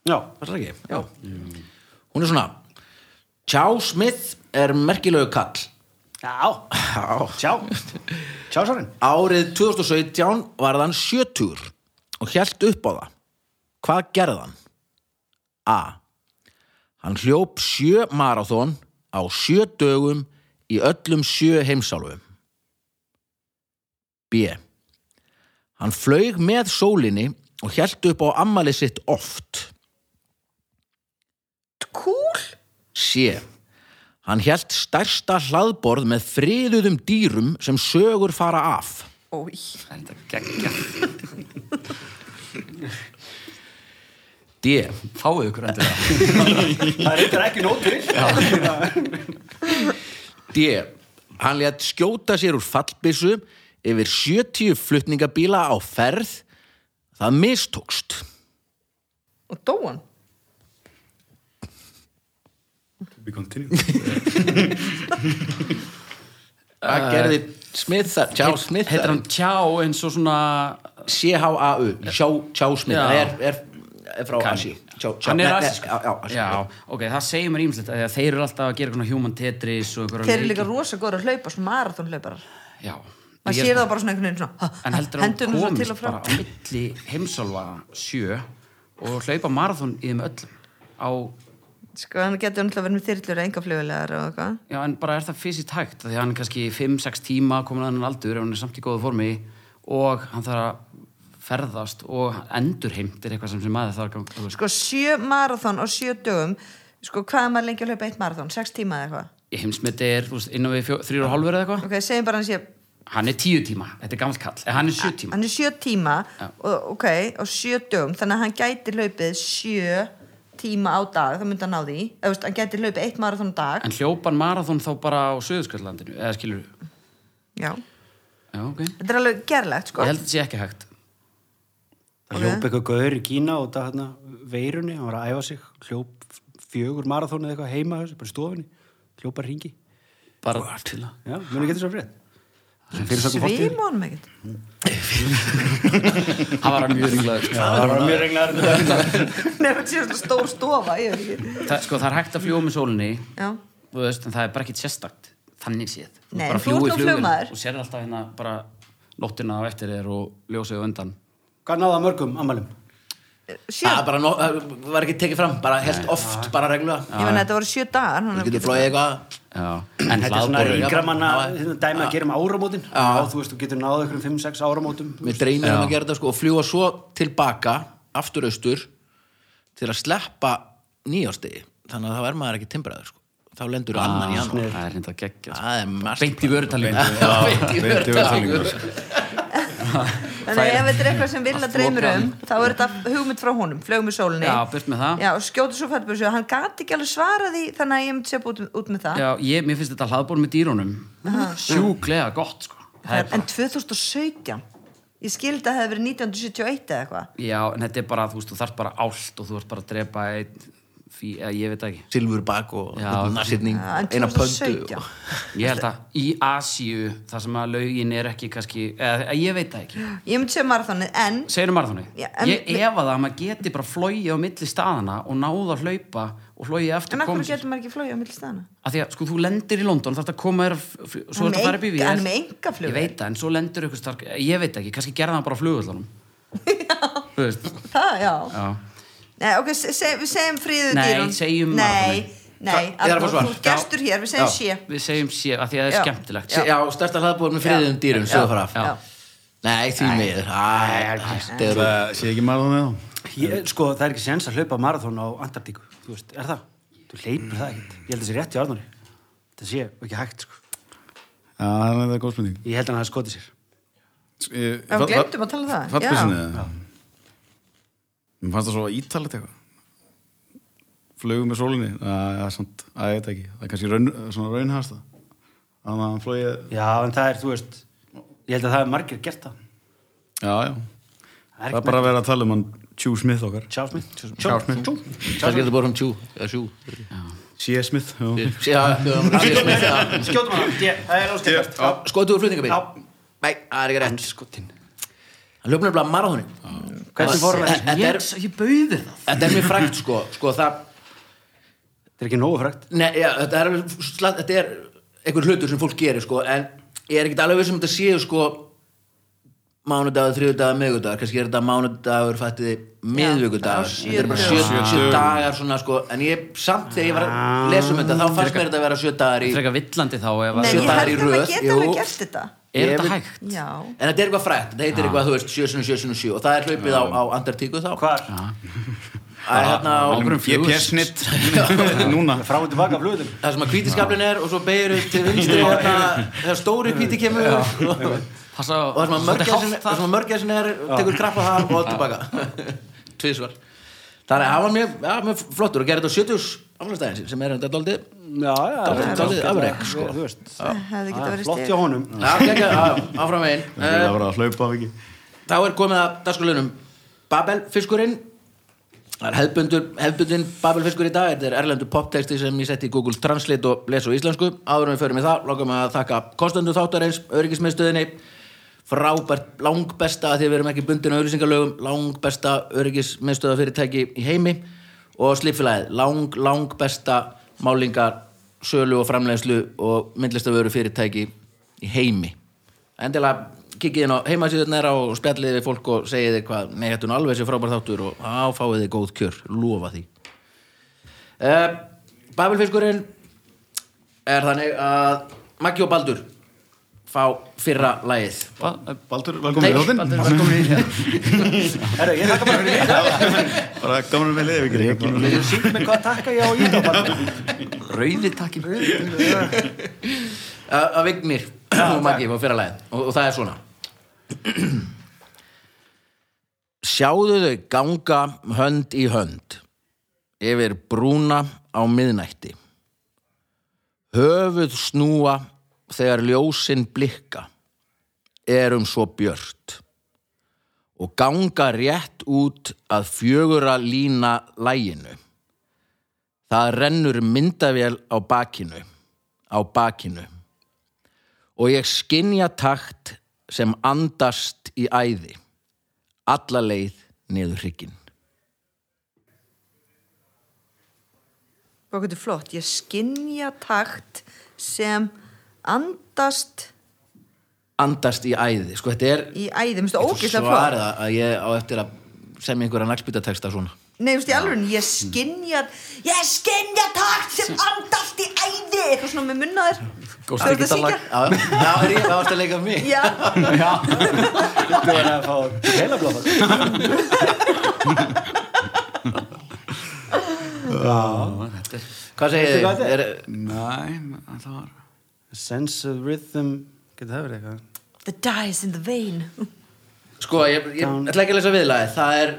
já, Passar ekki? Já. Mm. Hún er svona Tjá Smith er merkilegu kall já, Já sjá sjá svarinn Árið 2017 var hann 70 og hjælt upp á það. Hvað gerði hann? A. Hann hljóp sjö marathón á sjö dögum í öllum sjö heimsálfum. B. Hann flaug með sólinni og hjælt upp á ammali sitt oft. Kúl! C. Hann hjælt stærsta hlaðborð með friðuðum dýrum sem sögur fara af. Ói, D. fáið ykkur endur það það er eitthvað ekki nóg til D. Hann létt skjóta sér úr fallbissu yfir 70 flutningabíla á ferð. Það mistókst. og dóan. We continue. Það gerði Smith, það- Tjá Smith. Eh, heitir hann tjá eins og svona C-H-A-U, Tjá, tjá Smith. Já. Það er, er, er frá Asi. Tjá, tjá, hann nei, er nei, rasist Já, já, Asi. ok, það segir mér ímslegt að þeir eru alltaf að gera svona human tetris og einhverja Þeir eru leiki. líka rosa góður að hlaupa, svona marathonhlauparar. já Maður Ég- sér það bara svona einhvern veginn svona, en ha, heldur hann hendur hún svona til komist og frá. bara á milli heimsálfa sjö og hlaupa marathon í þeim öllum á, Sko, hann getur náttúrulega verið með þyrlur eða engaflögulegar og eitthvað. já en bara er það fysiskt hægt því að hann er kannski 5-6 tíma komin að hann aldur ef hann er samt í góðu formi og hann þarf að ferðast og endurheimt er eitthvað sem sem maður þarf að ganga þú veist. Sko, sjö marathon á sjö dögum, sko, hvað er maður lengi að hlaupa eitt marathon? Sex tíma eða eitthvað? Í heimsmeti er þú veist, innan við fjó- þrjár og hálfur eða eitthvað Ok, segjum bara hann sé, hann er 10 tíma, þetta er gammal kall en hann er 7 tíma hann er sjö tíma, og, ok, á sjö dögum, þannig að hann gæti hlaupið sjö tíma á dag, það myndi hann ná því. Eða, veist, hann gæti hlaupið eitt marathon á dag. en hljópan marathon þá bara á Suðurskjöldslandinu eða skilur Já, já ok ég þetta er alveg gerlegt, sko. held að þetta sé ekki hægt Það Ok. hljóp eitthvað gaur í Kína og það hérna veirunni, hann var að æfa sig, hljóp fjögur marathónu eða eitthvað heima þessu, bara í stofunni, hljópa ringi. bara til að Já, muni getur svo frétt. sem fyrirsögnum fórtíð Svima honum ekkert [LAUGHS] hann var mjög ringlaður það var mjög reglaður Nefnir sér svona stór stofa ég veit ekki. Þa, sko, það er hægt að fljúa með sólinni Já, þú veist, en það er bara ekkit sérstakt þannig séð Þú Nei, þú bara ert fljúgur nú flugvél flugmaður. og sér alltaf hérna bara nóttina á eftir þér og ljósið á undan hvað náða mörgum ammælum? sjö Það Ah, bara no- það var ekki tekið fram, bara helt oft, bara reglulega. Ég meina þetta voru sjö dagar Þú þannig að- getur flóið eitthvað. Já. en þetta er svona hlaðborðið yngra jafn- manna já. hérna, dæmi að gera um áramótin já, þú veist, þú getur náða ykkur um 5-6 áramótum Mér dreymir um að gera þetta sko og fljúa svo tilbaka, aftur austur, til að sleppa nýjástegi. Þannig að það verður maður ekki timbraður sko. Þá lendur þú annan í annan. Ah, það er hérna geggja Það er margt. beint í vörutalíu [LAUGHS] Beint í Beint í vörtalingur. vörtalingur. Þannig að ef þetta er eitthvað sem Villa Að dreymir þokan. um þá er þetta hugmynd frá honum, flög með sólinni Já, burt með það. Já, og skjóta svo fættbúrsu hann gati ekki alveg svarað því þannig að ég myndi sepa út, út með það Já, ég, mér finnst þetta hlaðborð með dýrunum sjúklega gott sko. Það er, En 2017 ég skildi að það hefði verið 1971 eða eitthvað já, en þetta er bara, þú veist, þú þarf bara ált og þú ert bara að drepa einn fí, eða, ég veit það ekki Silfurbak og Já. narsýtning, Já, en eina pöndu. 2017. og- [LAUGHS] Ég held að í Asíu, þar sem að laugin er ekki kannski, eða, eða, ég veit það ekki Ég myndi segja marathonið, en Segir marathonu? Já, en- ég efa það að maður geti bara flóið á milli staðana og náða að hlaupa og flóið eftir en af hverju sér. getur maður ekki flóið á milli staðana? Af því að sko þú lendir í London þarf að koma þér að f- f- svo Hann ertu að fara upp í með vél enga- hann með engaflug. ég veit það en svo lendir ykkur stark ég veit ekki kannski gerða það bara [LAUGHS] á flugullunum þú veist Það, já, já Nei, ok, se, se, við segjum friðu Nei, dýrun segjum Nei, marathonið. nei, Ég er að fá Arnór, svar. þú ert gestur hér, við segjum sé við segjum sér af því að það er Já. skemmtilegt Já, stærsta hlaðbúið með friðum dýrum, sögðu fara af. Já. Nei, því miður. Æ, þetta er- Það sé ekki marðan eða Ég, sko, það er ekki séns að hlaupa marathón á Antartíku, þú veist, er það? Þú leipur það ekkert, ég held þessi rétt í Arnóri það sé ekki hægt, sko Já, það er þetta góð spurning ég held að hann hafi skotið sér Eh, Já, við glemtum að tala um það Fattbísinni eða? Mér fannst það svo ítalit eitthvað Flögu með sólinni Æ, Það er samt, æ, ég veit ekki Það er kannski raun, svona raunhasta Þannig að hann flögi já, en það er, þú veist, ég held að það er margir gert það Já, já Það er Það er ekki bara að vera að tala um hann Chew Smith okkar Charles Smith Charles Smith Hvað getur bara um tjú? Eða sjú? C. Smith já. Já, þú hefur bara [LAUGHS] séð smið það. skjótum hann, Ég, það er áskilvægt Já. Skotu úr flutningabíl? Já. Nei, það er ekki rétt. skotin Hann löfum nefnilega marathónin. Hvernig fór hann? Þetta ég, er- ég bauði það Þetta er mér frægt, sko. Sko, það... það er ekki nógu frægt Nei, já, þetta er alveg... sla- Þetta er einhver hlutur sem fólk gerir, sko. En ég er ekkert alveg við sem þetta séu, sko, mánudagur, þriðudagur, miðugudagur. Kannski er þetta mánudagur, fættiði, á miðugudagur. sjö Þetta er bara sjö, dögum. sjö, dagar, svona, sko. En ég, samt þegar ég var að lesa um þetta, þá fannst mér þetta að vera sjö dagar í... það er eitthvað villandi þá ef Nei, að Sjö ég dagar held í að maður röð, geta alveg jú. gert þetta er Ég vil- þetta hægt Já, En þetta er eitthvað frægt, þetta heitir eitthvað, þú veist, 7 sinni 7 sinni 7 og það er hlaupið á, á Antartíku þá. hvar? Það er hérna á, Ákvörðum flugur. GPS-snitt [LAUGHS] Núna frá og tilbaka af flugutinu það sem að hvítiskablin er og svo beigir upp til vinstri og hérna þegar stóri hvíti kemur og Passa, og það sem að mörgæsin- það sem að mörgæsin er tekur krabba það og tilbaka tvísvar þannig að það var mjög, ja, mjög flottur og gerði þetta á 70 afnastæðin sín sem er þetta doldið já, já, Dálítið- já, dálítið já, afrek, já, sko. þú veist. það Það hefði geta er verið flott stig hjá honum Já, geggjað, já, áfram veginn Það er Eh, að vera að hlaupa af ekki þá er komið að dagskurlunum Babelfiskurinn það er hefbundur, hefbundin Babelfiskur í dag þetta er erlendur poptexti sem ég setti í Google Translate og les á íslensku áður en við förum í það, lokum að þakka kostendu þáttarins, öryggismiðstöðinni frábært langbesta að því við erum ekki bundin á auðlýsingalögum, langbesta öryggismiðstöðafyrirtæki í heimi og slipfélagið, lang, langbesta málingar, sölu og framleiðslu og myndlistavöru fyrirtæki í heimi endilega kikkið inn á heimasíðunar og spjallið við fólk og segið þið hvað nei, þetta er nú alveg sér frábær þáttur og á fáið þið góð kjör, lofa því uh, Babelfiskurinn er þannig að Maggi og Baldur fá fyrra lagið eh, Baldur, Nei, velkomin í Baldur, þáttinn velkomin í Herru, ég þakka bara fyrir þetta. Bara gaman að velja ef ekki Gaman að velja. Ég hef sýnt mig hvað takka ég á í þetta bara. rauði takkin að að Vignir og Maggi var fyrra lagið og, og það er svona Sjáðu þau ganga hönd í hönd yfir brúna á miðnætti höfuð snúa þegar ljósin blikka erum svo björt og ganga rétt út að fjögura lína læginu það rennur myndavél á bakinu á bakinu og ég skinja takt sem andast í æði alla leið niður hrygginn Hvað þetta er flott, ég skinja takt sem andast andast í æði, sko þetta er í æði, minnstu ógeðslega flott. svarið að ég á eftir að semja einhverja nagsbytateksta svona Nei, þú veist, í alveg, ég skinja, ég skinja takt sem andast í æði, eitthvað svona með munnaðir. Góðst ekki þetta lag Já, já, það er ég, það varst að leika mig Já, Þú er að fá heila blófa Hvað segir Veistu hvað þið? þetta Er, Nei, það var Sense of rhythm Getur það verið eitthvað? [LAUGHS] the dye is in the vein. sko, ég, ég ætla ekki að lesa viðlaði Það er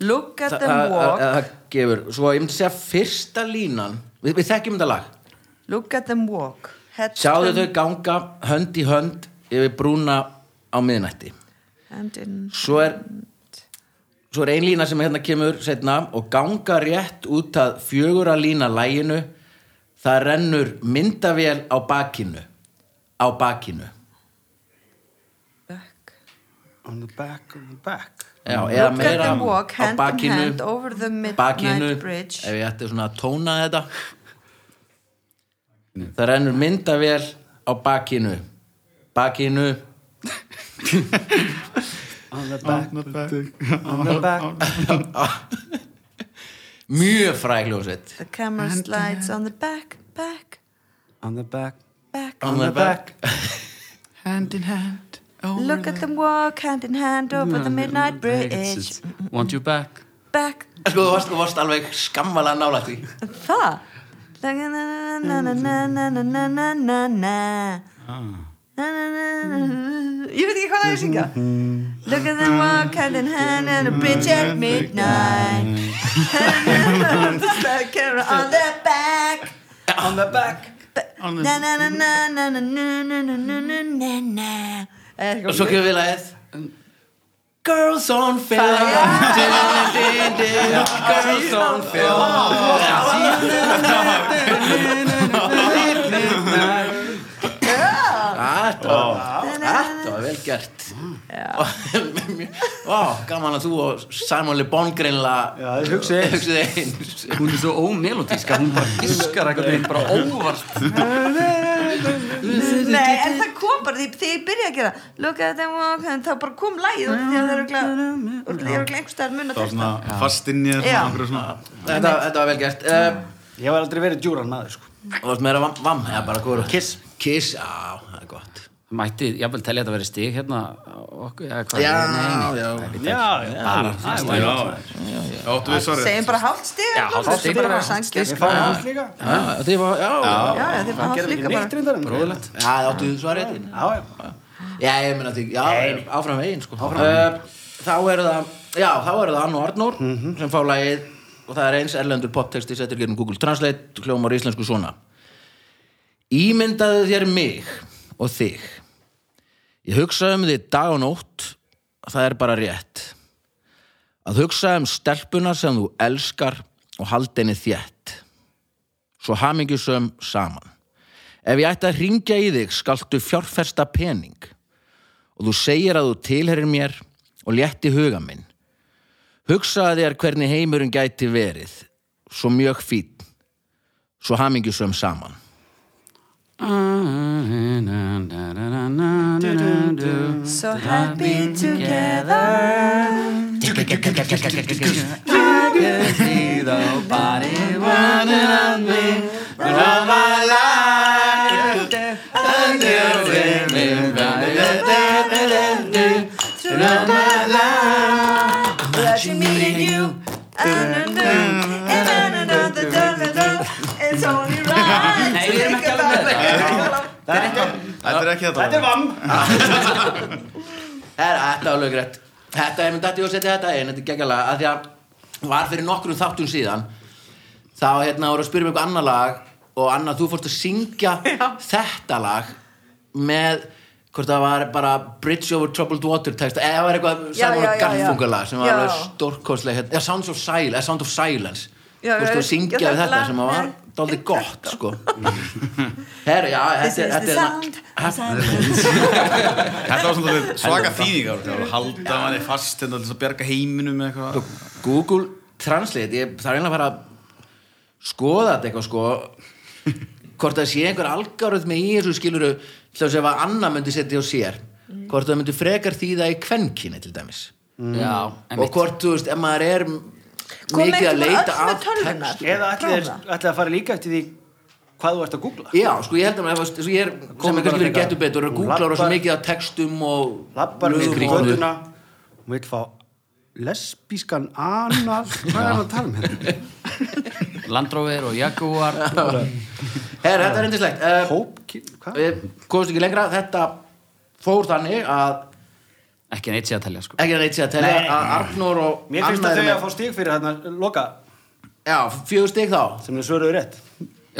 Look at það- them það- það- walk, það gefur Svo ég myndi segja fyrsta línan Við, við þekkjum þetta lag look at them walk. Head Sjáðu turned þau ganga hönd í hönd yfir brúna á miðnætti and in- Svo er Svo er ein lína sem hérna kemur setna og ganga rétt út að fjögura lína læginu það rennur myndavél á bakinu á bakinu Back. On the back of the back Já, eða Look at meira them walk, á hand in bakinu hand over the midnight bakinu, bridge. ef ég ætti svona að tóna þetta það rennur myndavél á bakinu bakinu On the back On the back On the back mjög frægljóðsett The camera slides on the back, back, On the back back. On the back. Hand in hand Look at them walk hand in hand over the midnight bridge. Want you back Back. sko þú varst, þú varst alveg skammalega nálægt því Það. Na-na-na-na-na-na-na-na-na-na-na. Ah. Na-na-na-na-na-na. Ég veit ekki hvað það er að syngja Look at them walk hand in hand on the bridge at midnight Na-na-na-na-na-na. Camera on their back On the back Na-na-na-na-na-na-na-na-na-na-na. Eh, og svo kemur við lagið Girls on film Din, din, din, Girls on film Ah, Þetta var vel gert Vá, gaman að þú og Simon Le Bon greinlega Já, þið hugsið eins. hugsið eins Hún er svo ómelodíska, hún bara diskar eitthvað veginn bara óvart Nei, en það kom bara því þegar ég byrjaði að gera Look at them walk and þá bara kom lægið og því að það eru glæð og það eru glæð einhverstaðar mun að Það var texta svona fast inn í þér Já. svona einhverju svona Þetta þetta var vel gert Eh, Ég hef aldrei verið djúran maður sko Þú varst meira vam, vam eða bara góru Kiss Kiss, já, það er gott Mætti, jáfnvel telja þetta að vera stig hérna okkur, eða hvað Já, nei, nei. já Já, já Bara, það er Já, já Áttu við svarið Segjum bara hálft stig Já, hálft stig bara. Ég sangjast fá hans líka Já, þið var, já, já Já, já, þið fá hálft líka Neitt bara reyndar en Bróðilegt Það áttu þú svarið þetta? Já, já Já, ég meina því, já, áfram veginn sko áfram. Þá eru það, já, þá eru það Ann og Arnór sem fá lagið og það er eins erlendur poptexti settur gerum Google Translate hljómar íslensku svona Ímyndaðu þér mig og þig Ég hugsaði um þig dag og nótt það er bara rétt að hugsa um stelpuna sem þú elskar og haldi henni þétt svo hamingjusum saman Ef ég ætti að ringja í þig skaltu fjárfesta pening og þú segir að þú tilherir mér og létti huga minn. Hugsaði þér hvernig heimurinn gæti verið, svo mjög fín, svo hamingjusum saman. So happy together Touching me and you And another It's only right Nei, við erum ekki alveg með það Þetta er ekki þetta Þetta er vann Her, þetta er alveg rétt. Þetta er mynd að ég að setja þetta inn, þetta er geggjala, að því að var fyrir nokkrum þáttum síðan, þá hérna voru að spyrja mig eitthvað annað lag og annað þú fórst að [LAUGHS] syngja þetta lag með hvort það var bara Bridge over Troubled Water texta, eða það var eitthvað Já, já, Sæmur já, já. Garfungalag sem var Já. alveg stórkostlega hérna, já, Sounds of Silence, eða Sound of Silence Já, þú fórst já, að syngja já, við þetta þetta lag sem var með- dálítið gott sko [LAUGHS] herri, já, þetta This is er- the þetta er sound the sound. [LAUGHS] Þetta var svona alveg svaka þýðingar Það var að halda manni fast hérna til þess að bjarga heiminum eða eitthvað Sko, Google Translate ég þarf einlega að fara að skoða þetta eitthvað sko hvort það sé einhver algoritmi í þessu skiluru til þess að annar myndi setja á sér hvort það myndi frekar þýða í kvenkyni til dæmis Já, og hvort, þú veist, ef maður er m- Komum mikið að ekki bara leita Sko, öll með að tölvunar? textum. Eða ætli Ráða. þér- ætli að fara líka eftir því hvað þú ert að googla Já, sko ég held að maður, ef að- eins og ég er, sem Komum er kannski bara verið líka- getur betur, er að googla Labbar- rosa mikið að textum og Lappar niður lögum um og- göduna Hún vil fá lesbískan annað Hvað er hann að tala um hérna? landrófir og jaguar Herra, þetta er reyndislegt. Uh, Hópkinn, hvað? við komumst ekki lengra þetta fór þannig að ekki neitt sé að telja sko ekki að neitt sé að telja Nei. að Arnór og Mér finnst að eru þau að með- fá stig fyrir hérna loka já, fjögur stig þá sem þau svöruðu rétt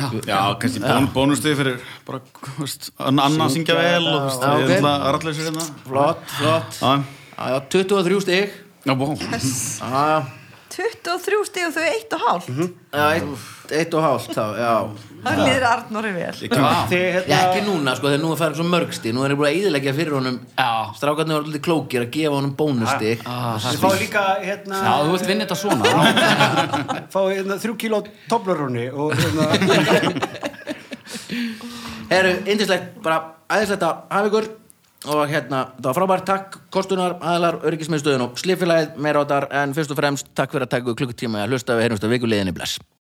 Já, kannski bón, bónustið fyrir bara, hvað veist, annað að syngja vel og þú veist, Já, það ok. er alltaf aðralleysir hérna flott, flott Já, já, já, 23 stig já, bó Yes. já, 23 stig og þau eitt og hálft já, eitt, eitt og hálft þá já. það liður Arnóri vel Þið já, ekki hérna núna sko, þegar nú er færið svo mörg stig nú er ég búin að eðilegja fyrir honum Já. strákarnir voru alltaf klókir að gefa honum bónustig Ah, Þið fá líka hérna Já, [LAUGHS] þú vilt vinna þetta svona fá hérna þrjú kíló toblarunni og hérna herru, indislegt, bara æðislegt að hafa ykkur og hérna, það var frábært, takk kostunar, aðlar, öryggismiðstöðun og slifilagið meira á þar en fyrst og fremst, takk fyrir að taka ykkur klukkutíma að hlusta við heyrumst að vikuleginni bless